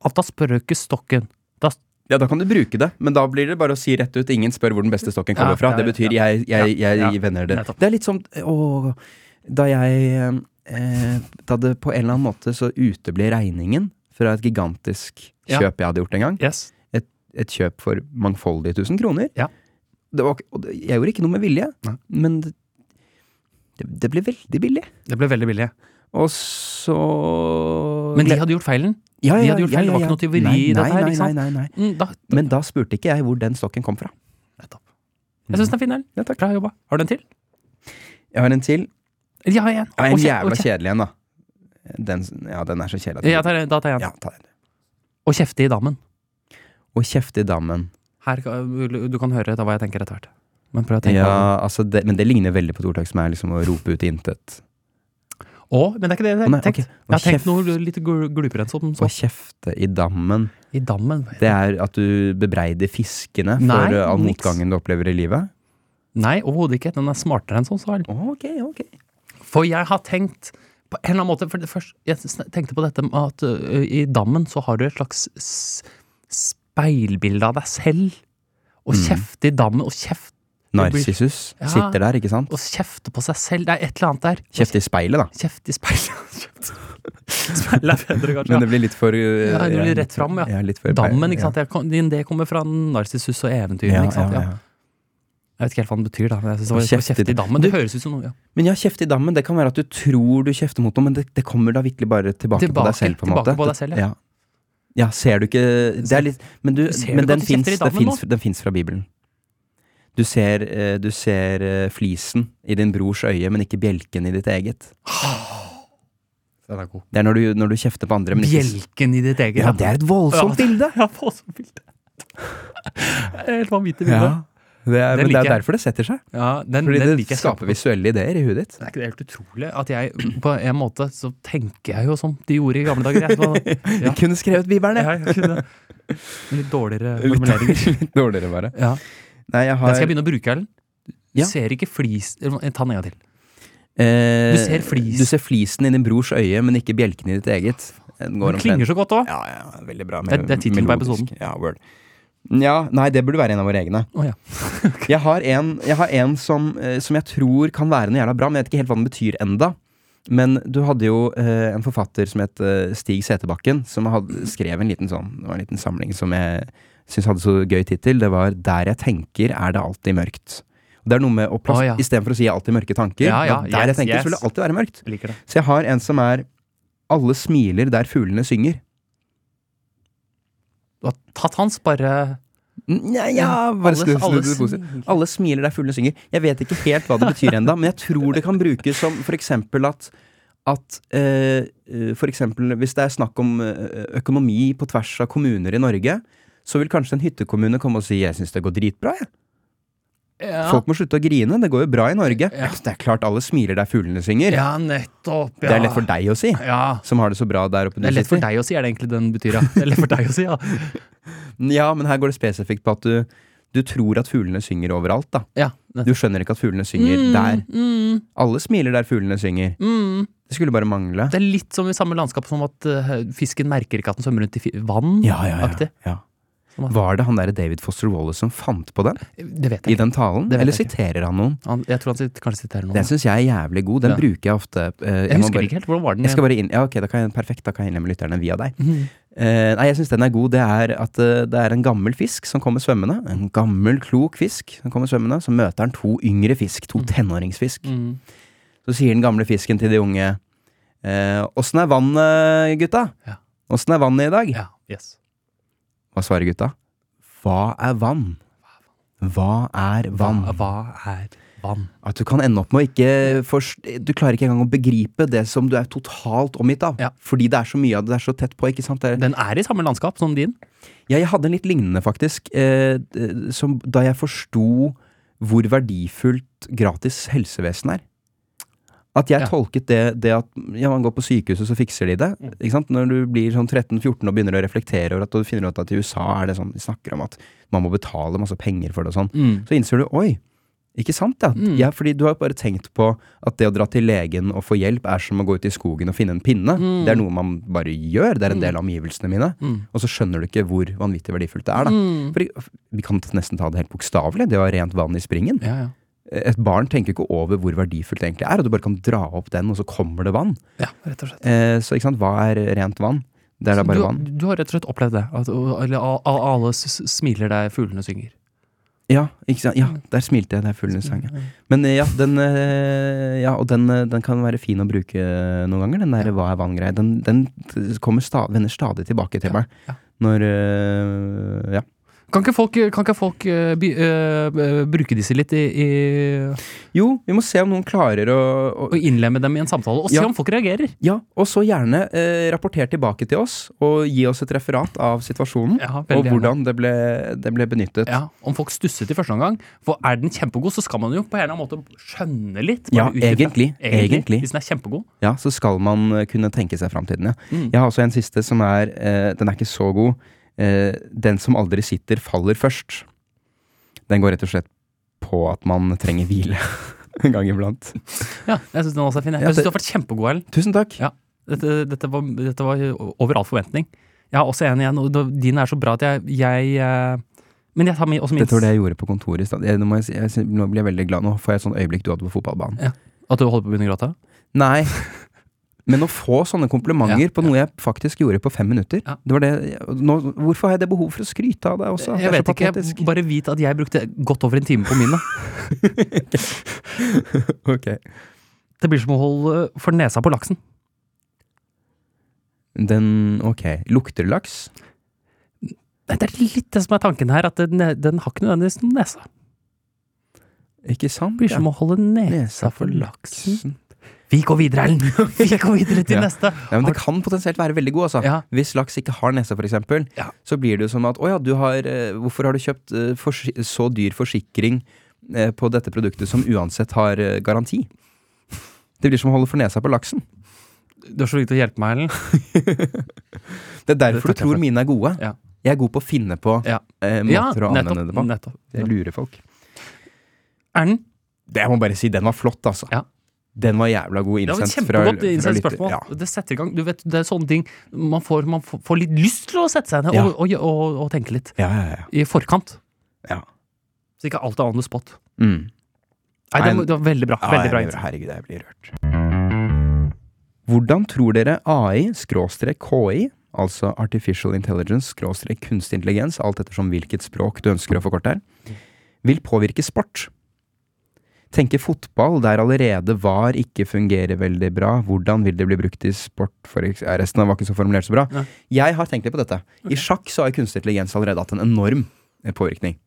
S3: At da spør du ikke stokken. Da
S2: Ja, da kan du bruke det, men da blir det bare å si rett ut 'ingen spør hvor den beste stokken
S3: Ja,
S2: kommer fra'.
S3: ja,
S2: Det
S3: ja,
S2: betyr
S3: ja.
S2: 'jeg, jeg,
S3: Ja,
S2: jeg
S3: ja,
S2: vender det'.
S3: nettopp.
S2: Det er litt som å, da jeg eh, Da det på en eller annen måte så uteble regningen fra et gigantisk
S3: Ja.
S2: kjøp jeg hadde gjort en gang.
S3: Yes.
S2: Et kjøp for mangfoldige tusen kroner.
S3: Ja.
S2: Det var, ikke- og det, jeg gjorde ikke noe med vilje,
S3: Nei.
S2: men det, det ble veldig billig.
S3: Det ble veldig billig.
S2: Og så
S3: Men de hadde gjort feilen.
S2: ja,
S3: de hadde gjort feil, det var ikke noe tyveri
S2: Nei,
S3: i dette
S2: nei,
S3: her,
S2: nei,
S3: ikke sant?
S2: Nei, nei, nei.
S3: Mm, da,
S2: Men da spurte ikke jeg hvor den stokken kom fra.
S3: Nettopp. Jeg syns den er fin, den.
S2: Ja, takk.
S3: Bra jobba. Har du en til?
S2: Jeg har en til.
S3: Eller jeg har en.
S2: Ja, en
S3: Og kje- og
S2: jævla
S3: kje-
S2: kjedelig en, da. Den, ja, den er så kjedelig. at
S3: Jeg tar, en- da tar jeg en.
S2: ja, ta den.
S3: Og kjefte i dammen.
S2: Og kjefte i dammen.
S3: Her, kan- du kan høre da hva jeg tenker etter hvert. Men prøv å tenke på det.
S2: Ja, altså det, men det ligner veldig på et ordtak som er liksom å rope ut i intet.
S3: Å, men det er ikke det jeg
S2: Å, nei,
S3: har tenkt.
S2: ok.
S3: Jeg har
S2: Å
S3: tenkt
S2: kjef-
S3: noe litt gl- glupere enn som
S2: Å
S3: så.
S2: kjefte i dammen,
S3: I dammen.
S2: det er at du bebreider fiskene for
S3: Nei,
S2: eh, all
S3: niks.
S2: motgangen du opplever i livet?
S3: Nei, overhodet ikke. Den er smartere enn som så. vel.
S2: Å, Ok, ok.
S3: For jeg har tenkt på en eller annen måte, for det først, Jeg sn- tenkte på dette med at ø, i dammen så har du et slags s- speilbilde av deg selv. Og
S2: Mm.
S3: kjefte i dammen, og kjeft Det blir-
S2: Narsissus
S3: Ja.
S2: sitter der, ikke sant?
S3: og kjefte på seg selv. Det er et eller annet der.
S2: Kjefte i speilet, da.
S3: Kjeft i speilet. Kjeft. Speilet er bedre, kanskje.
S2: Men det blir litt for eh,
S3: Ja, det blir
S2: ja,
S3: rett fram, ja.
S2: litt for
S3: ja. Dammen, ikke sant. Jeg kom- din- Det kommer fra narcissus og eventyr.
S2: Ja,
S3: ikke sant?
S2: ja,
S3: Ja.
S2: ja.
S3: Jeg vet ikke helt hva den betyr, da. Men jeg synes det var
S2: Og
S3: kjeft,
S2: kjeft i
S3: i dammen. Det høres ut som noe ja.
S2: Men ja, kjefte i dammen, det kan være at du tror du kjefter mot noe, men det, det kommer da virkelig bare tilbake, på
S3: Tilbake-
S2: deg selv, på en måte.
S3: tilbake på deg selv, ja.
S2: ja. Ja, ser du ikke Det er litt Men, du,
S3: Ser du
S2: men
S3: ikke
S2: den
S3: at du kjefter
S2: fins
S3: i dammen nå?
S2: den fins fra Bibelen. Du ser, eh, du ser eh, flisen i din brors øye, men ikke bjelken i ditt eget.
S3: Den er god.
S2: Det er når du, når du kjefter på andre, men ikke
S3: Bjelken i ditt eget.
S2: Ja, det er et voldsomt
S3: Ja.
S2: bilde!
S3: Ja, på sånn bilde. Det er Helt vanvittig bilde.
S2: Ja. Det er,
S3: Den
S2: men det
S3: liker
S2: er
S3: jeg.
S2: derfor det setter seg.
S3: Ja, den,
S2: Fordi
S3: den liker
S2: det
S3: jeg kjempegodt.
S2: skaper visuelle ideer i huet ditt.
S3: Det er ikke det helt utrolig at jeg på en måte så tenker jeg jo som de gjorde i gamle dager. Jeg, så,
S2: Vi
S3: ja,
S2: kunne skrevet Bibelen, jeg.
S3: ja, jeg kunne det. Men Litt dårligere
S2: Litt
S3: formuleringer.
S2: Litt dårligere, bare.
S3: Ja.
S2: Nei, jeg
S3: Den skal
S2: har
S3: jeg begynne å bruke, Erlend. Du
S2: Ja.
S3: ser ikke flis Ta den en gang til.
S2: eh,
S3: Du ser flis.
S2: Du ser flisen i din brors øye, men ikke bjelken i ditt eget. Eh, Den går
S3: Den klinger så godt òg.
S2: Ja, ja, veldig bra.
S3: Det- det er tittelen på
S2: melodisk. Ja, word. Ja, nei, det burde være en av våre egne.
S3: Å, ja.
S2: jeg har en, jeg har en som, eh, som jeg tror kan være noe jævla bra, men jeg vet ikke helt hva den betyr enda. Men du hadde jo eh, en forfatter som het eh, Stig Seterbakken, som hadde, skrev en liten sånn, det var en liten samling som jeg syns hadde så gøy tittel. Det var 'Der jeg tenker, er det alltid mørkt'. Og det er noe med å plass,
S3: Å, ja.
S2: Istedenfor å si 'jeg har alltid mørke tanker',
S3: Ja, ja,
S2: da, 'der jeg
S3: yes,
S2: tenker',
S3: yes.
S2: så vil det alltid være mørkt.
S3: Liker det.
S2: Så jeg har en som er 'Alle smiler der fuglene synger'.
S3: Du har tatt hans, bare
S2: Nei, ja, bare
S3: Alle-
S2: snu snu
S3: alle
S2: det positivt.
S3: smiler.
S2: Alle smiler der fuglene synger. Jeg vet ikke helt hva det betyr ennå, men jeg tror det kan brukes som for eksempel at at eh, eh, for eksempel hvis det er snakk om eh, økonomi på tvers av kommuner i Norge, så vil kanskje en hyttekommune komme og si 'jeg syns det går dritbra', jeg.
S3: Ja.
S2: Folk må slutte å grine, det går jo bra i Norge.
S3: Ja.
S2: Det er klart alle smiler der fuglene synger.
S3: ja, nettopp. Ja.
S2: Det er lett for deg å si,
S3: Ja.
S2: som har det så bra der oppe. du
S3: Det er lett
S2: sitter.
S3: for deg å si, er det egentlig den betyr, ja. Det er lett for deg å si, ja.
S2: Ja, men her går det spesifikt på at du, du tror at fuglene synger overalt, da.
S3: ja nettopp.
S2: Du skjønner ikke at fuglene synger der.
S3: Mm,
S2: Alle smiler der fuglene synger.
S3: mm.
S2: Det skulle bare mangle.
S3: Det er litt som i samme landskap som at eh, fisken merker ikke at den svømmer rundt i fi- vann.
S2: Ja, ja, ja,
S3: Aktig.
S2: ja. Var det han derre David Foster Wallace som fant på den?
S3: Det vet
S2: I
S3: jeg ikke.
S2: den talen?
S3: Det vet
S2: Eller
S3: jeg ikke.
S2: siterer han noen?
S3: Han, jeg tror han sit- kanskje siterer noen.
S2: Den syns jeg er jævlig god. Den
S3: Ja.
S2: bruker jeg ofte. eh,
S3: Jeg
S2: må
S3: husker
S2: bare,
S3: ikke helt. Hvordan var den?
S2: Jeg skal bare inn, ja, ok, da kan jeg, perfekt, da kan jeg innlemme lytterne via deg.
S3: Mhm.
S2: Eh, nei, jeg syns den er god. Det er at eh, det er en gammel fisk som kommer svømmende. En gammel, klok fisk som kommer svømmende. Så møter han to yngre fisk. To tenåringsfisk.
S3: Mm.
S2: Så sier den gamle fisken til de unge eh, Åssen er vannet, gutta?
S3: Ja.
S2: Åssen er vannet i dag?
S3: Ja, yes.
S2: Hva svarer gutta? Hva er vann? Hva er vann?
S3: Hva, hva er vann?
S2: At du kan ende opp med å ikke forst- Du klarer ikke engang å begripe det som du er totalt omgitt av.
S3: Ja.
S2: Fordi det er så mye av det, det er så tett på. ikke sant? Det er,
S3: Den er i samme landskap som din.
S2: ja, jeg hadde en litt lignende, faktisk. Eh, d- som da jeg forsto hvor verdifullt gratis helsevesen er. At jeg
S3: Ja.
S2: tolket det, det at ja, man går på sykehuset, så fikser de det.
S3: Mm.
S2: Ikke sant? Når du blir sånn 13-14 og begynner å reflektere over at og du finner ut at i USA er det sånn de snakker om at man må betale masse penger for det og sånn. Så innser du oi, ikke sant ja.
S3: Mm.
S2: ja fordi du har bare tenkt på at det å dra til legen og få hjelp er som å gå ut i skogen og finne en pinne.
S3: Mm.
S2: Det er noe man bare gjør. Det er en del av omgivelsene mine.
S3: Mm.
S2: Og så skjønner du ikke hvor vanvittig verdifullt det er. da.
S3: Mm.
S2: For vi kan nesten ta det helt bokstavelig. Det å ha rent vann i springen.
S3: Ja, ja.
S2: Et barn tenker ikke over hvor verdifullt det egentlig er, og du bare kan dra opp den, og så kommer det vann.
S3: ja, rett og slett.
S2: Eh, så ikke sant, hva er rent vann? Det er da bare
S3: du,
S2: vann.
S3: du har rett og slett opplevd det? At, eller, a- a- alle s- s- smiler der fuglene synger.
S2: Ja, ikke sant? ja, der smilte jeg. Det er
S3: Mm.
S2: full sang. Men eh, ja, den, eh, ja og den, eh, den kan være fin å bruke noen ganger, den der hva er vann-greia. Den, den kommer sta, vender stadig tilbake til meg.
S3: ja.
S2: Når eh, Ja.
S3: Kan ikke folk, kan ikke folk eh, by, eh, eh, bruke disse litt i, i
S2: Jo, vi må se om noen klarer å, å
S3: Og innlemme dem i en samtale, og se
S2: Ja.
S3: om folk reagerer?
S2: Ja, og så gjerne eh, rapporter tilbake til oss, og gi oss et referat av situasjonen.
S3: Ja, veldig
S2: og
S3: gjerne.
S2: hvordan det ble, det ble benyttet.
S3: Ja, Om folk stusset i første omgang. For er den kjempegod, så skal man jo på en eller annen måte skjønne litt.
S2: Ja,
S3: bare ut ifra-
S2: egentlig, egentlig.
S3: Hvis den er kjempegod. Mm.
S2: Ja, så skal man eh, kunne tenke seg framtiden, ja. Jeg har også en siste som er eh, Den er ikke så god. Eh, den som aldri sitter, faller først. Den går rett og slett på at man trenger hvile en gang iblant.
S3: Ja, jeg syns den også er fin. jeg.
S2: Ja,
S3: Jeg
S2: det-
S3: syns du har vært kjempegod, Ellen.
S2: Tusen takk.
S3: Ja. Dette, dette, var, dette var over all forventning. Jeg har også en igjen, og da- din er så bra at jeg, jeg eh, Men jeg tar min, også min
S2: Dette var det jeg gjorde på kontoret i stad. Jeg- Nå, må jeg si- jeg sy- nå blir jeg veldig glad. Nå får jeg et sånn øyeblikk du hadde på fotballbanen.
S3: At du holder på å begynne å gråte?
S2: Nei. Men å få sånne komplimenter
S3: Ja,
S2: på noe jeg faktisk gjorde på fem minutter
S3: Ja.
S2: det var det, nå, Hvorfor har jeg det behov for å skryte av deg også? Det er
S3: Jeg
S2: så
S3: vet ikke,
S2: patetisk.
S3: bare vit at jeg brukte godt over en time på mine.
S2: Ok.
S3: Det blir som å holde eh, for nesa på laksen.
S2: Den Ok. Lukter det laks?
S3: Nei, Det er litt det som er tanken her, at den, den har ikke nødvendigvis noen nese.
S2: Ikke sant?
S3: Det blir som å holde nesa for laksen. Vi går videre, Ellen! Vi går videre til
S2: Ja.
S3: neste!
S2: Ja, men det kan potensielt være veldig god, altså.
S3: Ja.
S2: Hvis laks ikke har nese, for eksempel,
S3: Ja.
S2: så blir det jo som at å ja, du har eh, Hvorfor har du kjøpt eh, forsi- så dyr forsikring eh, på dette produktet som uansett har eh, garanti? Det blir som å holde for nesa på laksen.
S3: Du er så flink til å hjelpe meg, Ellen.
S2: Det er derfor du
S3: Det takker jeg
S2: tror
S3: for.
S2: mine er gode.
S3: Ja.
S2: Jeg er god på å finne på
S3: Ja.
S2: eh, måter å anvende det på.
S3: nettopp.
S2: Jeg lurer folk.
S3: Erlend,
S2: Det, jeg må bare si, den var flott, altså.
S3: Ja.
S2: Den var jævla god
S3: det var et
S2: innsendt. fra-
S3: kjempegodt
S2: fra
S3: innsendt
S2: lytter.
S3: spørsmål.
S2: Ja.
S3: Det setter i gang. Du vet, det er sånne ting man får, man får- får litt lyst til å sette seg ned
S2: Ja.
S3: og, og, og, og tenke litt.
S2: Ja, ja, ja.
S3: I forkant.
S2: Ja.
S3: Så ikke alt er on the spot.
S2: Mm.
S3: Nei,
S2: Nei,
S3: det var, det var veldig bra.
S2: Ja,
S3: veldig
S2: jeg
S3: bra
S2: blir-
S3: innsats.
S2: Herregud, jeg blir rørt. Hvordan tror dere AI, skråstrek KI, altså Artificial Intelligence, skråstrek kunstig intelligens, alt ettersom hvilket språk du ønsker å forkorte her, vil påvirke sport? Tenke fotball der allerede VAR ikke fungerer veldig bra, hvordan vil det bli brukt i sport? For eks- ja, resten var ikke så formulert så bra.
S3: Nei.
S2: Jeg har tenkt litt på dette. I sjakk så har kunstig intelligens allerede hatt en enorm eh, påvirkning.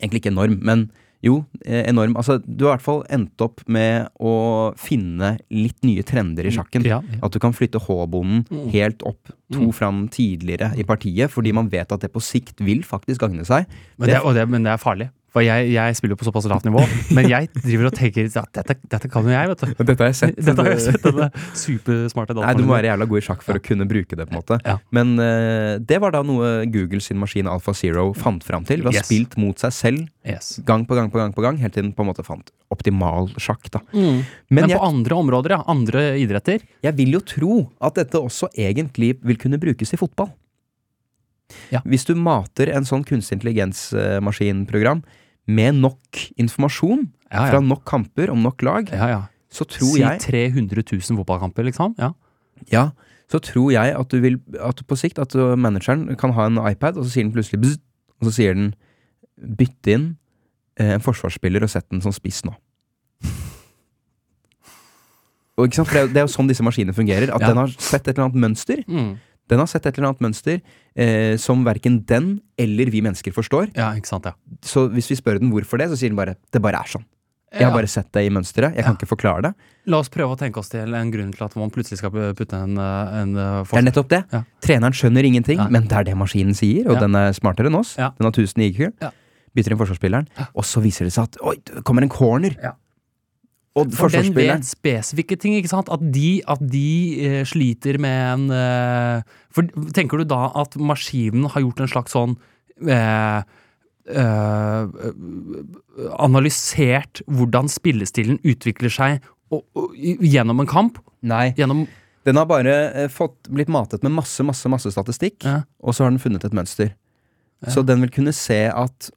S2: Egentlig ikke enorm, men jo, eh, enorm. Altså, du har i hvert fall endt opp med å finne litt nye trender i sjakken.
S3: Mm, Ja, ja.
S2: At du kan flytte H-bonden
S3: Mm.
S2: helt opp, to
S3: Mm.
S2: fram tidligere i partiet, fordi man vet at det på sikt vil faktisk gagne seg.
S3: Men, det, og det, men det er farlig. For jeg, jeg spiller jo på såpass lavt nivå. Men jeg driver og tenker at dette, dette kan jo jeg, vet du.
S2: Dette har jeg
S3: Dette har jeg sett denne supersmarte
S2: Nei, du
S3: dataen.
S2: må være jævla god i sjakk for å kunne bruke det, på en måte.
S3: Ja.
S2: Men eh, det var da noe Google sin maskin Alfa Zero fant fram til. Ved å ha
S3: Yes.
S2: spilt mot seg selv
S3: Yes.
S2: gang på gang på gang, på gang helt til den på en måte fant optimal sjakk, da.
S3: Mm. Men,
S2: Men jeg-
S3: på andre områder, ja. Andre idretter.
S2: Jeg vil jo tro at dette også egentlig vil kunne brukes i fotball.
S3: Ja.
S2: Hvis du mater en sånn kunstig intelligensmaskinprogram med nok informasjon
S3: Ja,
S2: fra
S3: ja.
S2: nok kamper om nok lag,
S3: ja, ja.
S2: så tror
S3: Si
S2: jeg
S3: 300 000 fotballkamper, liksom. Ja.
S2: Ja, så tror jeg at du vil at du på sikt at uh, manageren kan ha en iPad, og så sier den plutselig bzz, og så sier den bytte inn eh, en forsvarsspiller og sett den som spiss nå. Og ikke sant? For det, er jo- det er jo sånn disse maskinene fungerer. At
S3: Ja.
S2: den har sett et eller annet mønster.
S3: Mm.
S2: Den har sett et eller annet mønster eh, som verken den eller vi mennesker forstår.
S3: ja, ikke sant, ja.
S2: Så hvis vi spør den hvorfor det, så sier den bare 'det bare er sånn'. Jeg har
S3: Ja.
S2: bare sett det i mønsteret. Jeg kan
S3: Ja.
S2: ikke forklare det.
S3: La oss prøve å tenke oss til en grunn til at man plutselig skal putte en, eh, en
S2: Det
S3: eh,
S2: er
S3: forsker-
S2: nettopp det.
S3: Ja.
S2: Treneren skjønner ingenting,
S3: Nei.
S2: men det er det maskinen sier, og
S3: Ja.
S2: den er smartere enn oss.
S3: Ja.
S2: Den har 1000 i IQ.
S3: Ja.
S2: Bytter inn forsvarsspilleren, og så viser det seg at oi, det kommer en corner!
S3: Ja.
S2: Og
S3: For den
S2: forsvarsspilleren
S3: vet spesifikke ting, ikke sant? At de, at de eh, sliter med en eh, For tenker du da at maskinen har gjort en slags sånn eh, eh, Analysert hvordan spillestilen utvikler seg og, og, i- gjennom en kamp?
S2: Nei,
S3: Gjennom
S2: den har bare eh, fått, blitt matet med masse, masse, masse statistikk,
S3: Ja.
S2: og så har den funnet et mønster. Så den vil kunne se at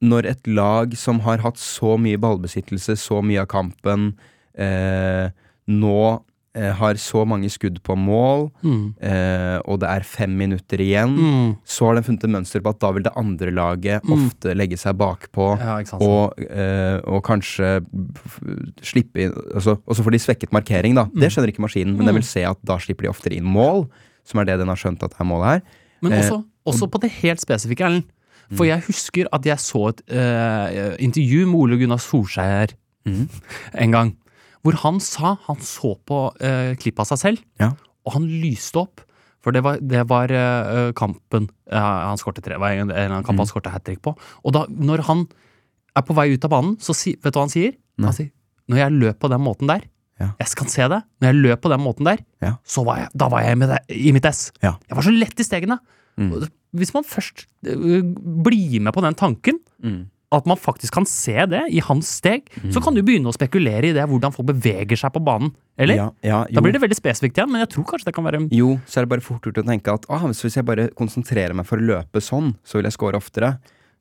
S2: når et lag som har hatt så mye ballbesittelse, så mye av kampen, eh, nå eh, har så mange skudd på mål,
S3: mm,
S2: eh, og det er fem minutter igjen,
S3: mm,
S2: så har den funnet et mønster på at da vil det andre laget
S3: Mm.
S2: ofte legge seg bakpå.
S3: Ja, altså. ikke sant.
S2: Og, eh, og kanskje f- slippe inn altså, Og så får de svekket markering, da.
S3: Mm.
S2: Det skjønner ikke maskinen, men den vil se at da slipper de oftere inn mål, som er det den har skjønt at er målet her.
S3: Men
S2: Eh, Mm.
S3: også, også på det helt spesifikke, Erlend. For jeg husker at jeg så et eh, intervju med Ole Gunnar Solskjær
S2: Mhm.
S3: en gang. Hvor han sa han så på eh, klipp av seg selv,
S2: Ja.
S3: og han lyste opp. For det var, det var eh, kampen eh, han skårte tre, var en, en eller annen
S2: Mm.
S3: kamp han skårte hat trick på. Og da, når han er på vei ut av banen, så si, vet du hva han sier?
S2: Nei.
S3: Han sier når jeg løp på den måten der,
S2: Ja.
S3: jeg kan se det, når jeg løp på den måten der,
S2: Ja.
S3: så var jeg, da var jeg i mitt- i mitt ess.
S2: Ja.
S3: Jeg var så lett i stegene.
S2: Mm.
S3: Hvis man først øh, blir med på den tanken, at man faktisk kan se det i hans steg,
S2: Mm.
S3: så kan du begynne å spekulere i det, hvordan folk beveger seg på banen. Eller?
S2: Ja, ja, jo.
S3: Da blir det veldig spesifikt igjen, men jeg tror kanskje det kan være
S2: jo, så er det bare fort gjort å tenke at ah, hvis jeg bare konsentrerer meg for å løpe sånn, så vil jeg score oftere.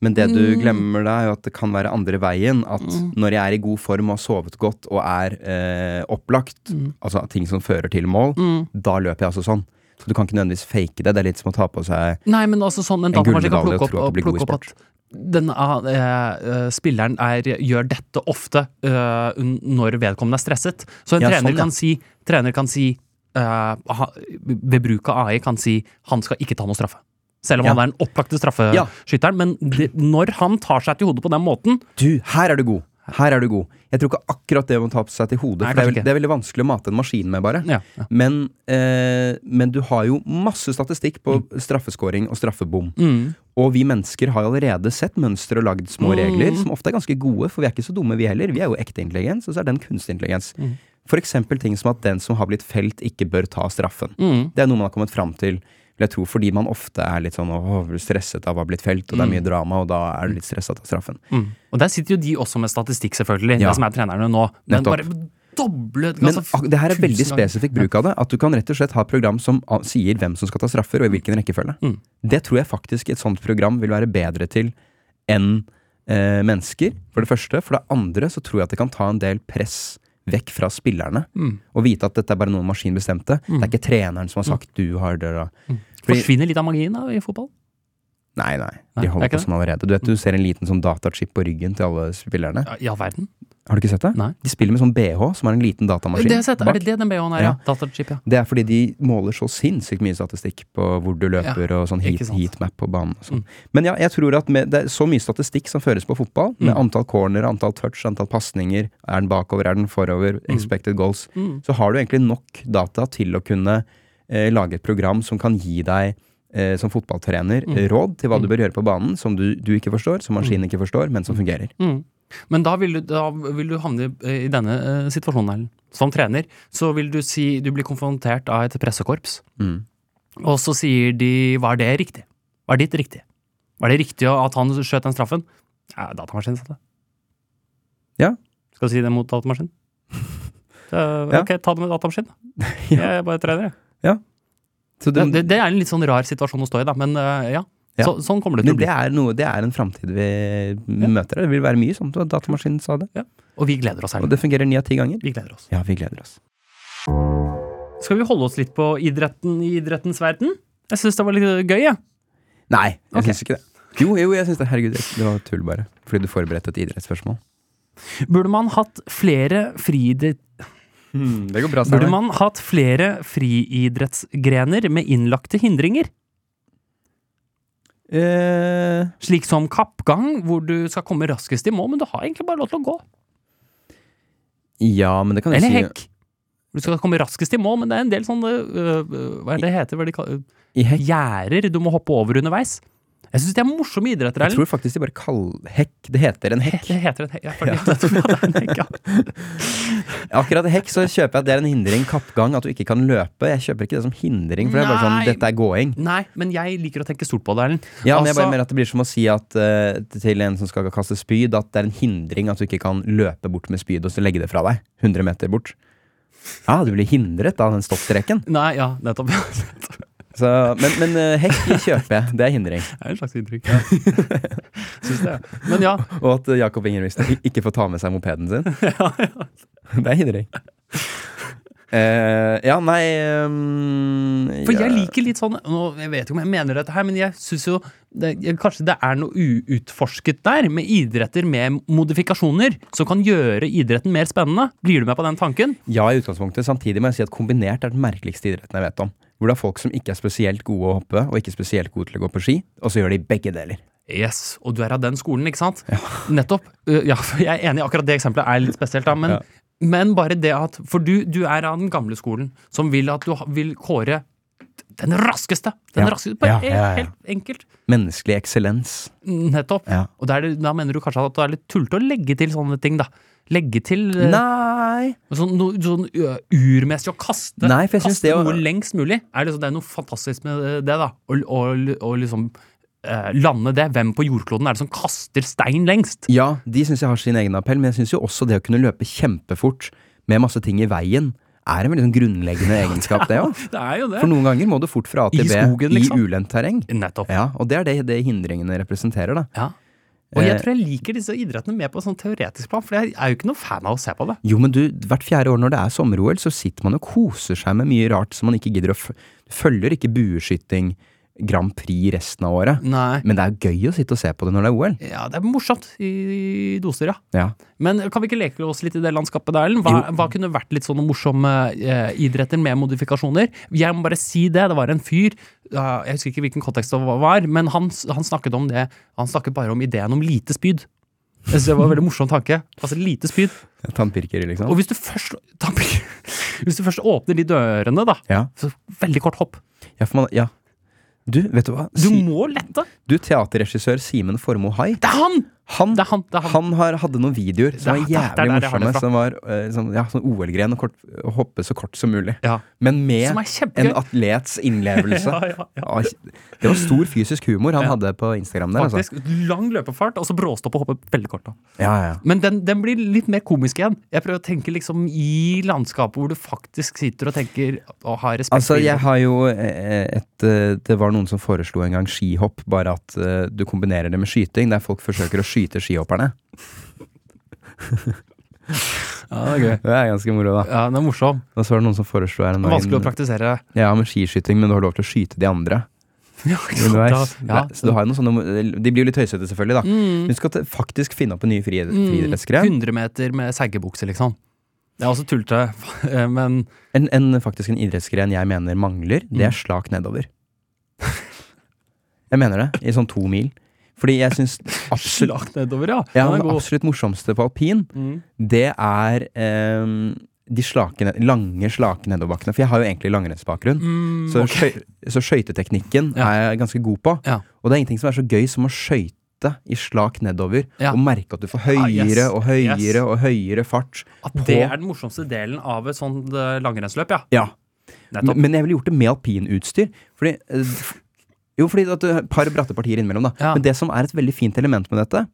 S2: Men det du glemmer da, er jo at det kan være andre veien. At når jeg er i god form og har sovet godt og er eh, opplagt, altså ting som fører til mål, da løper jeg altså sånn. Så du kan ikke nødvendigvis fake det. Det er litt som å ta på seg
S3: Nei, men altså sånn en
S2: En
S3: datamaskin kan
S2: gullmedalje og
S3: plukke opp,
S2: tro at du
S3: og
S2: blir god i
S3: plukke opp at den, eh, eh, spilleren er, gjør dette ofte eh, un- når vedkommende er stresset. Så en
S2: Ja,
S3: trener,
S2: sånn, ja.
S3: kan si, trener kan si eh, ha, Ved bruk av AI kan si han skal ikke ta noe straffe. Selv om
S2: Ja.
S3: han er den opplagte straffeskytteren. Men det, når han tar seg til hodet på den måten,
S2: Du, her er du god! Her er du god. Jeg tror ikke akkurat det må ta på seg til hodet,
S3: Nei,
S2: for det er,
S3: kanskje
S2: vel-
S3: ikke.
S2: det er veldig vanskelig å mate en maskin med, bare.
S3: Ja, ja.
S2: Men, eh, men du har jo masse statistikk på straffeskåring og straffebom.
S3: Mm.
S2: Og vi mennesker har allerede sett mønster og lagd små
S3: Mm.
S2: regler, som ofte er ganske gode, for vi er ikke så dumme vi heller. Vi er jo ekte intelligens, og så er den kunstig intelligens.
S3: Mm.
S2: For eksempel ting som at den som har blitt felt, ikke bør ta straffen.
S3: Mm.
S2: Det er noe man har kommet fram til, vil jeg tro, fordi man ofte er litt sånn åh, blir stresset av å ha blitt felt, og det er mye drama, og da er du litt stresset av straffen.
S3: Mm. Og der sitter jo de også med statistikk, selvfølgelig,
S2: Ja.
S3: de som er trenerne nå. Men
S2: Nettopp.
S3: bare doble
S2: Men
S3: altså,
S2: ak- det her er veldig
S3: tusen ganger.
S2: spesifikk bruk av det. At du kan rett og slett ha et program som a- sier hvem som skal ta straffer, og i hvilken rekkefølge.
S3: Mm.
S2: Det tror jeg faktisk et sånt program vil være bedre til enn eh, mennesker, for det første. For det andre så tror jeg at det kan ta en del press vekk fra spillerne.
S3: Mm.
S2: Og vite at dette er bare noe en maskin bestemte. Det er ikke treneren som har sagt 'du har det'. da. Fordi-
S3: Forsvinner litt av magien da, i fotball.
S2: Nei, nei.
S3: Nei,
S2: De
S3: det er
S2: holder på
S3: ikke det. Mm.
S2: sånn allerede. Du vet, du ser en liten sånn datachip på ryggen til alle spillerne.
S3: Ja, I all verden.
S2: Har du ikke sett det?
S3: Nei.
S2: De spiller med sånn BH, som er en liten datamaskin.
S3: Det har jeg sett.
S2: bak.
S3: Er det det den BH-en er? Ja. Datachip, ja.
S2: Det er fordi de måler så sinnssykt mye statistikk på hvor du løper og sånn heat,
S3: ikke sant. Mm.
S2: heatmap på banen. Og sånn. Men ja, jeg tror at med, det er så mye statistikk som føres på fotball, med
S3: Mm.
S2: antall corner, antall touch, antall pasninger, er den bakover, er den forover,
S3: Mm.
S2: expected goals, så har du egentlig nok data til å kunne eh, lage et program som kan gi deg eh, som fotballtrener
S3: Mm.
S2: eh, råd til hva du bør gjøre på banen, som du, du ikke forstår, som maskinen ikke forstår, men som fungerer.
S3: Mm. Men da vil, du, da vil du havne i- i denne eh, situasjonen, Erlend. Som trener så vil du si du blir konfrontert av et pressekorps,
S2: Mm.
S3: og så sier de 'var det riktig'? Var ditt riktig? Var det riktig at han skjøt den straffen? Ja, datamaskinen satte det.
S2: Ja.
S3: Skal du si det mot datamaskinen? Så,
S2: Ja.
S3: Ok, ta det med datamaskinen. da.
S2: Ja.
S3: Jeg er bare trener, jeg.
S2: Så det,
S3: Det, det, det er en litt sånn rar situasjon å stå i, da, men eh, ja.
S2: Ja.
S3: Så, sånn kommer det til
S2: men
S3: å
S2: det
S3: bli.
S2: er, noe, det er en framtid vi møter. Det vil være mye sånn som datamaskinen sa det.
S3: Og vi gleder oss,
S2: Og
S3: Erlend.
S2: det fungerer ni av ti ganger.
S3: Vi gleder oss.
S2: Ja, vi gleder oss.
S3: Skal vi holde oss litt på idretten i idrettens verden? Jeg syns det var litt gøy, jeg.
S2: Nei, jeg
S3: Ok.
S2: syns ikke det. Jo, jo, jeg syns det. Herregud, det det var tull, bare. Fordi du forberedte et idrettsspørsmål.
S3: Burde man hatt flere friidrett...
S2: Hmm, det går bra,
S3: Burde man hatt flere friidrettsgrener med innlagte hindringer?
S2: Eh,
S3: Slik som kappgang, hvor du skal komme raskest i mål, men du har egentlig bare lov til å gå.
S2: ja, men det kan du
S3: Eller
S2: si.
S3: hekk. Du skal komme raskest i mål, men det er en del sånne øh, øh, Hva er det det heter? Hva er det de kaller-
S2: I hekk.
S3: Gjerder du må hoppe over underveis. Jeg syns de er morsomme idretter,
S2: Jeg
S3: Erlend.
S2: tror faktisk de bare kaller hekk Det heter en hekk.
S3: Det heter en hekk. Ja, fordi jeg tror at det er en hekk, ja.
S2: Akkurat hekk så kjøper jeg at det er en hindring. Kappgang, at du ikke kan løpe. Jeg kjøper ikke det som hindring, for det er bare sånn
S3: Nei.
S2: dette er gåing.
S3: Nei, men jeg liker å tenke stort på det, Erlend.
S2: Ja, men jeg
S3: Altså-
S2: bare mener at det blir som å si at eh, til en som skal kaste spyd, at det er en hindring at du ikke kan løpe bort med spyd og så legge det fra deg. 100 meter bort. Ja, du blir hindret av den stoppstreken.
S3: Nei, ja, nettopp.
S2: Så, men, men eh, hekk kjøper jeg. Det er hindring.
S3: Det er en slags inntrykk. Ja. Syns det. ja. Men ja,
S2: Og at eh, Jakob Ingebrigtsen i- ikke får ta med seg mopeden sin. Det er hindring. Eh, ja, nei ehm,
S3: for
S2: ja.
S3: jeg liker litt sånn nå, Jeg vet ikke om jeg mener dette her, men jeg syns jo det, jeg, Kanskje det er noe uutforsket der, med idretter med modifikasjoner, som kan gjøre idretten mer spennende. Blir du med på den tanken?
S2: Ja, i utgangspunktet. Samtidig må jeg si at kombinert er den merkeligste idretten jeg vet om. Hvor det er folk som ikke er spesielt gode å hoppe, og ikke spesielt gode til å gå på ski, og så gjør de begge deler.
S3: Yes, og du er av den skolen, ikke sant? Nettopp. Uh, Ja, for jeg er enig, akkurat det eksempelet er litt spesielt, da, men,
S2: Ja.
S3: men bare det at For du, du er av den gamle skolen, som vil at du ha- vil kåre den raskeste! Den
S2: Ja.
S3: raskeste, bare
S2: Ja, ja, ja.
S3: helt enkelt.
S2: Menneskelig eksellens.
S3: Nettopp.
S2: Ja.
S3: Og da, er det, da mener du kanskje at det er litt tullete å legge til sånne ting, da. Legge til eh,
S2: Nei!
S3: sånn, no, sånn ø, urmessig å kaste,
S2: Nei, for jeg synes
S3: kaste
S2: det å-
S3: noe lengst mulig. Er liksom, det er noe fantastisk med eh, det, da. Å å- å liksom eh, lande det. Hvem på jordkloden er det som kaster stein lengst?
S2: Ja, de syns jeg har sin egen appell, men jeg syns jo også det å kunne løpe kjempefort med masse ting i veien, er en veldig sånn grunnleggende egenskap, det òg.
S3: Det er jo det.
S2: For noen ganger må du fort fra A til
S3: I
S2: B
S3: skogen, liksom.
S2: i ulendt terreng.
S3: Nettopp.
S2: Ja, og det er det, det hindringene representerer, da.
S3: Ja. Og jeg
S2: Eh,
S3: tror jeg liker disse idrettene mer på sånn teoretisk plan, for jeg er jo ikke noe fan av å se på det.
S2: Jo, men du, hvert fjerde år når det er sommer-OL, så sitter man og koser seg med mye rart som man ikke gidder å f Du følger ikke bueskyting Grand Prix resten av året.
S3: Nei.
S2: Men det er jo gøy å sitte og se på det når det er OL.
S3: Ja, det er morsomt i doser, ja.
S2: Ja.
S3: Men kan vi ikke leke oss litt i det landskapet der, Ellen? Hva, hva kunne vært litt sånne morsomme eh, idretter med modifikasjoner? Jeg må bare si det. Det var en fyr, eh, jeg husker ikke hvilken kontekst det var, men han, s- han snakket om det. Han snakket bare om ideen om lite spyd. Jeg synes det var en veldig morsom tanke. Altså lite spyd.
S2: Tannpirkere, liksom.
S3: Og hvis du først Tampik- Hvis du først åpner de dørene, da,
S2: Ja.
S3: så veldig kort hopp.
S2: Ja, for man, ja. Du, vet du hva?
S3: Du
S2: Si,
S3: må lette!
S2: du, teaterregissør Simen Formoe Hai.
S3: Det er han!
S2: Han,
S3: Det er han! Det er han.
S2: han har, hadde noen videoer som var
S3: Det er- det er- det er
S2: jævlig
S3: der jeg har det
S2: morsomme.
S3: fra.
S2: Som var eh, sånn, ja, sånn OL-gren og kort, å hoppe så kort som mulig.
S3: Ja.
S2: Men med
S3: Som er
S2: en
S3: kjempegøy.
S2: atlets innlevelse.
S3: Ja, ja, ja.
S2: Ah, Det var stor fysisk humor han
S3: Ja.
S2: hadde på Instagram der. Altså.
S3: Faktisk. Lang løpefart, og så bråstopp og hoppe veldig kort. da
S2: Ja, ja.
S3: Men den, den blir litt mer komisk igjen. Jeg prøver å tenke liksom i landskapet hvor du faktisk sitter og tenker og har respekt
S2: Altså,
S3: for
S2: jeg
S3: idrett.
S2: har jo eh, et eh, Det var noen som foreslo en gang skihopp, bare at eh, du kombinerer det med skyting, der folk forsøker å skyte skihopperne.
S3: Ja, det er gøy.
S2: Det er ganske moro, da.
S3: Ja, den er morsom.
S2: Og så var det noen som foreslo her om
S3: Det er vanskelig å
S2: dagen
S3: praktisere.
S2: Ja, med skiskyting, men du har lov til å skyte de andre
S3: Ja, ikke sant?
S2: underveis.
S3: Ja.
S2: Det- Så du har jo noen sånne De blir jo litt tøysete, selvfølgelig, da.
S3: Mm,
S2: Men Du skal te- faktisk finne opp en ny fri-
S3: mm,
S2: friidrettsgren.
S3: 100 meter med seggebukse, liksom. Det er også tullete, eh, men
S2: En, en, faktisk en idrettsgren jeg mener mangler, det
S3: Mm.
S2: er slak nedover. Jeg mener det. I sånn to mil. Fordi jeg syns absolutt
S3: slakt nedover, ja.
S2: ja,
S3: Den
S2: det
S3: er god.
S2: absolutt morsomste på alpin,
S3: Mm.
S2: det er ehm, de slake, ned- lange, slake nedoverbakkene. For jeg har jo egentlig langrennsbakgrunn.
S3: Mm,
S2: Så,
S3: ok.
S2: skøy- så skøyteteknikken
S3: Ja.
S2: er jeg ganske god på.
S3: Ja.
S2: Og det er ingenting som er så gøy som å skøyte i slak nedover
S3: Ja.
S2: og merke at du får
S3: Ah, yes.
S2: høyere og høyere
S3: Yes.
S2: og høyere fart.
S3: At det er den morsomste delen av et sånt eh, langrennsløp, ja.
S2: Ja.
S3: Nettopp.
S2: Men jeg ville gjort det med alpinutstyr. Fordi eh, f- Jo, fordi at du har et par bratte partier innimellom, da.
S3: Ja.
S2: Men det som er et veldig fint element med dette,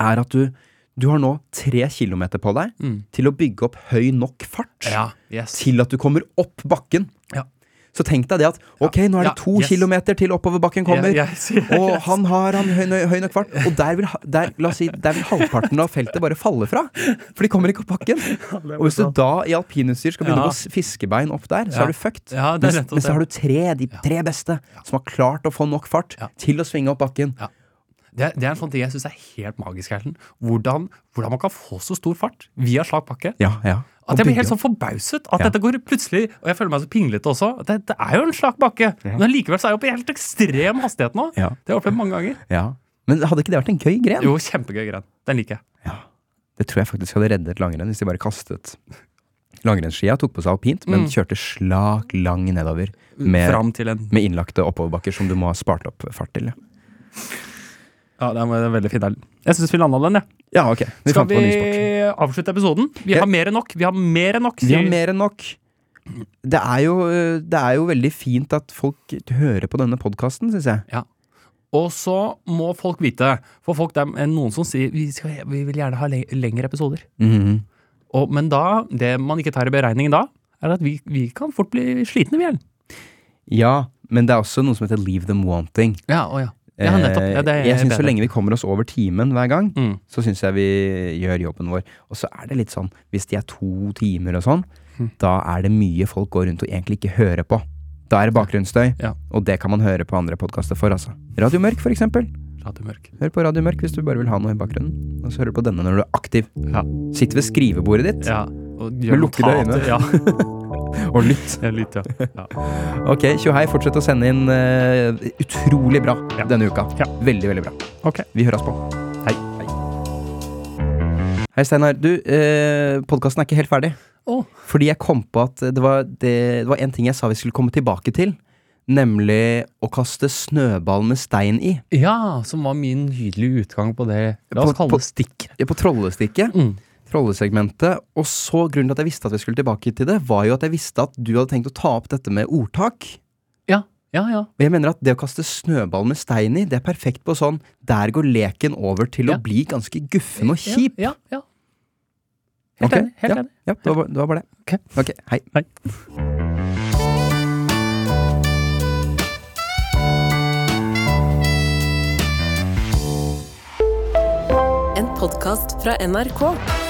S2: er at du, du har nå tre kilometer på deg
S3: Mm.
S2: til å bygge opp høy nok fart.
S3: Ja, yes.
S2: til at du kommer opp bakken.
S3: Ja.
S2: Så tenk deg det at ok, nå er det
S3: Ja,
S2: to
S3: yes.
S2: kilometer til oppoverbakken kommer.
S3: Ja, yes, yes.
S2: Og han har han høy, høy nok fart. Og der vil, ha- der, la oss si, der vil halvparten av feltet bare falle fra. For de kommer ikke opp bakken.
S3: er
S2: Og hvis du da i alpinutstyr skal begynne
S3: Ja.
S2: å gå s- fiskebein opp der, så
S3: Ja.
S2: er du fucked.
S3: Ja, det er
S2: Mens,
S3: nettopp
S2: mens
S3: det.
S2: så har du tre, de tre beste, som har klart å få nok fart
S3: Ja.
S2: til å svinge opp bakken.
S3: Det, det er en sånn ting jeg syns er helt magisk, Erlend. Hvordan, hvordan man kan få så stor fart via slak bakke.
S2: Ja, ja.
S3: At
S2: Og
S3: jeg blir
S2: bygge
S3: helt sånn forbauset. At
S2: Ja.
S3: dette går plutselig Og jeg føler meg så pinglete også. at Det, det er jo en slak bakke, men likevel så er jeg oppe i helt ekstrem hastighet nå.
S2: Ja.
S3: Det har jeg opplevd mange ganger.
S2: opp- ja. Men hadde ikke det vært en gøy gren?
S3: sånn- Jo, kjempegøy gren. Den liker jeg.
S2: Det tror jeg faktisk hadde reddet langrenn hvis de bare kastet langrennsskia, tok på seg alpint, men kjørte slak lang nedover med,
S3: Mm. Fram til en
S2: med innlagte oppoverbakker som du må ha spart opp fart til. ja.
S3: Ja, det er en veldig fin del. Jeg syns vi landa den, jeg.
S2: Ja, ok. Vi
S3: Skal
S2: fant
S3: vi
S2: på en ny sport.
S3: avslutte episoden? Vi
S2: Ja.
S3: har mer enn nok. Vi har mer enn nok.
S2: Vi har
S3: sier-
S2: mer enn nok. Det er jo, det er jo veldig fint at folk hører på denne podkasten, syns jeg.
S3: Og så må folk vite, for folk det er noen som sier vi, skal, vi vil gjerne ha le- lengre episoder. Mhm. Og, men da, det man ikke tar i beregningen da, er at vi, vi kan fort bli slitne, vi, Ellen.
S2: Ja, men det er også noe som heter leave them wanting.
S3: Ja, å ja. Ja, nettopp. Ja, det er
S2: Eh, jeg syns så
S3: bedre.
S2: lenge vi kommer oss over timen hver gang,
S3: Mm.
S2: så syns jeg vi gjør jobben vår. Og så er det litt sånn, hvis de er to timer og sånn,
S3: Mm.
S2: da er det mye folk går rundt og egentlig ikke hører på. Da er det bakgrunnsstøy,
S3: Ja.
S2: og det kan man høre på andre podkaster for, altså. Radio Mørk, for eksempel.
S3: Radio Mørk.
S2: Hør på Radio Mørk hvis du bare vil ha noe i bakgrunnen. Og så hører du på denne når du er aktiv.
S3: Ja.
S2: Sitt ved skrivebordet ditt
S3: Ja, og
S2: Med
S3: gjør
S2: lukkede
S3: notater.
S2: øyne.
S3: Ja,
S2: og lytt.
S3: ja, litt, ja. ja.
S2: Ok, tjohei. Fortsett å sende inn eh, utrolig bra
S3: Ja.
S2: denne uka.
S3: Ja.
S2: Veldig, veldig bra.
S3: Ok.
S2: Vi høres på.
S3: Hei.
S2: Hei, Hei Steinar. Du, eh, podkasten er ikke helt ferdig.
S3: Å.
S2: Fordi jeg kom på at det var, det, det var en ting jeg sa vi skulle komme tilbake til. Nemlig å kaste snøball med stein i.
S3: ja, som var min nydelige utgang på det La oss
S2: På-
S3: kalle
S2: på-
S3: det stikk.
S2: Ja, På trollestikket.
S3: Mm.
S2: Trollesegmentet. Og så grunnen til at jeg visste at vi skulle tilbake til det, var jo at jeg visste at du hadde tenkt å ta opp dette med ordtak.
S3: Ja, ja, ja.
S2: Og jeg mener at det å kaste snøball med stein i, det er perfekt på sånn Der går leken over til
S3: Ja.
S2: å bli ganske guffen og kjip.
S3: Ja, ja. ja. Helt
S2: Ok,
S3: enig. Helt
S2: ja,
S3: enig.
S2: ja, det, var, bare- det var bare det.
S3: Ok.
S2: Ok, hei.
S1: En podkast fra NRK.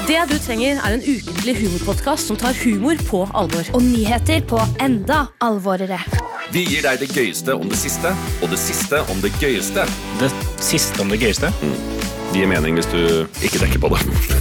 S4: Det du trenger er en ukentlig humorpodkast som tar humor på alvor.
S5: og nyheter på enda alvorere.
S6: Vi gir deg det gøyeste om det siste, og det siste om det gøyeste. Mm.
S7: det siste om det gøyeste.
S6: Det gir mening hvis du ikke tenker på det.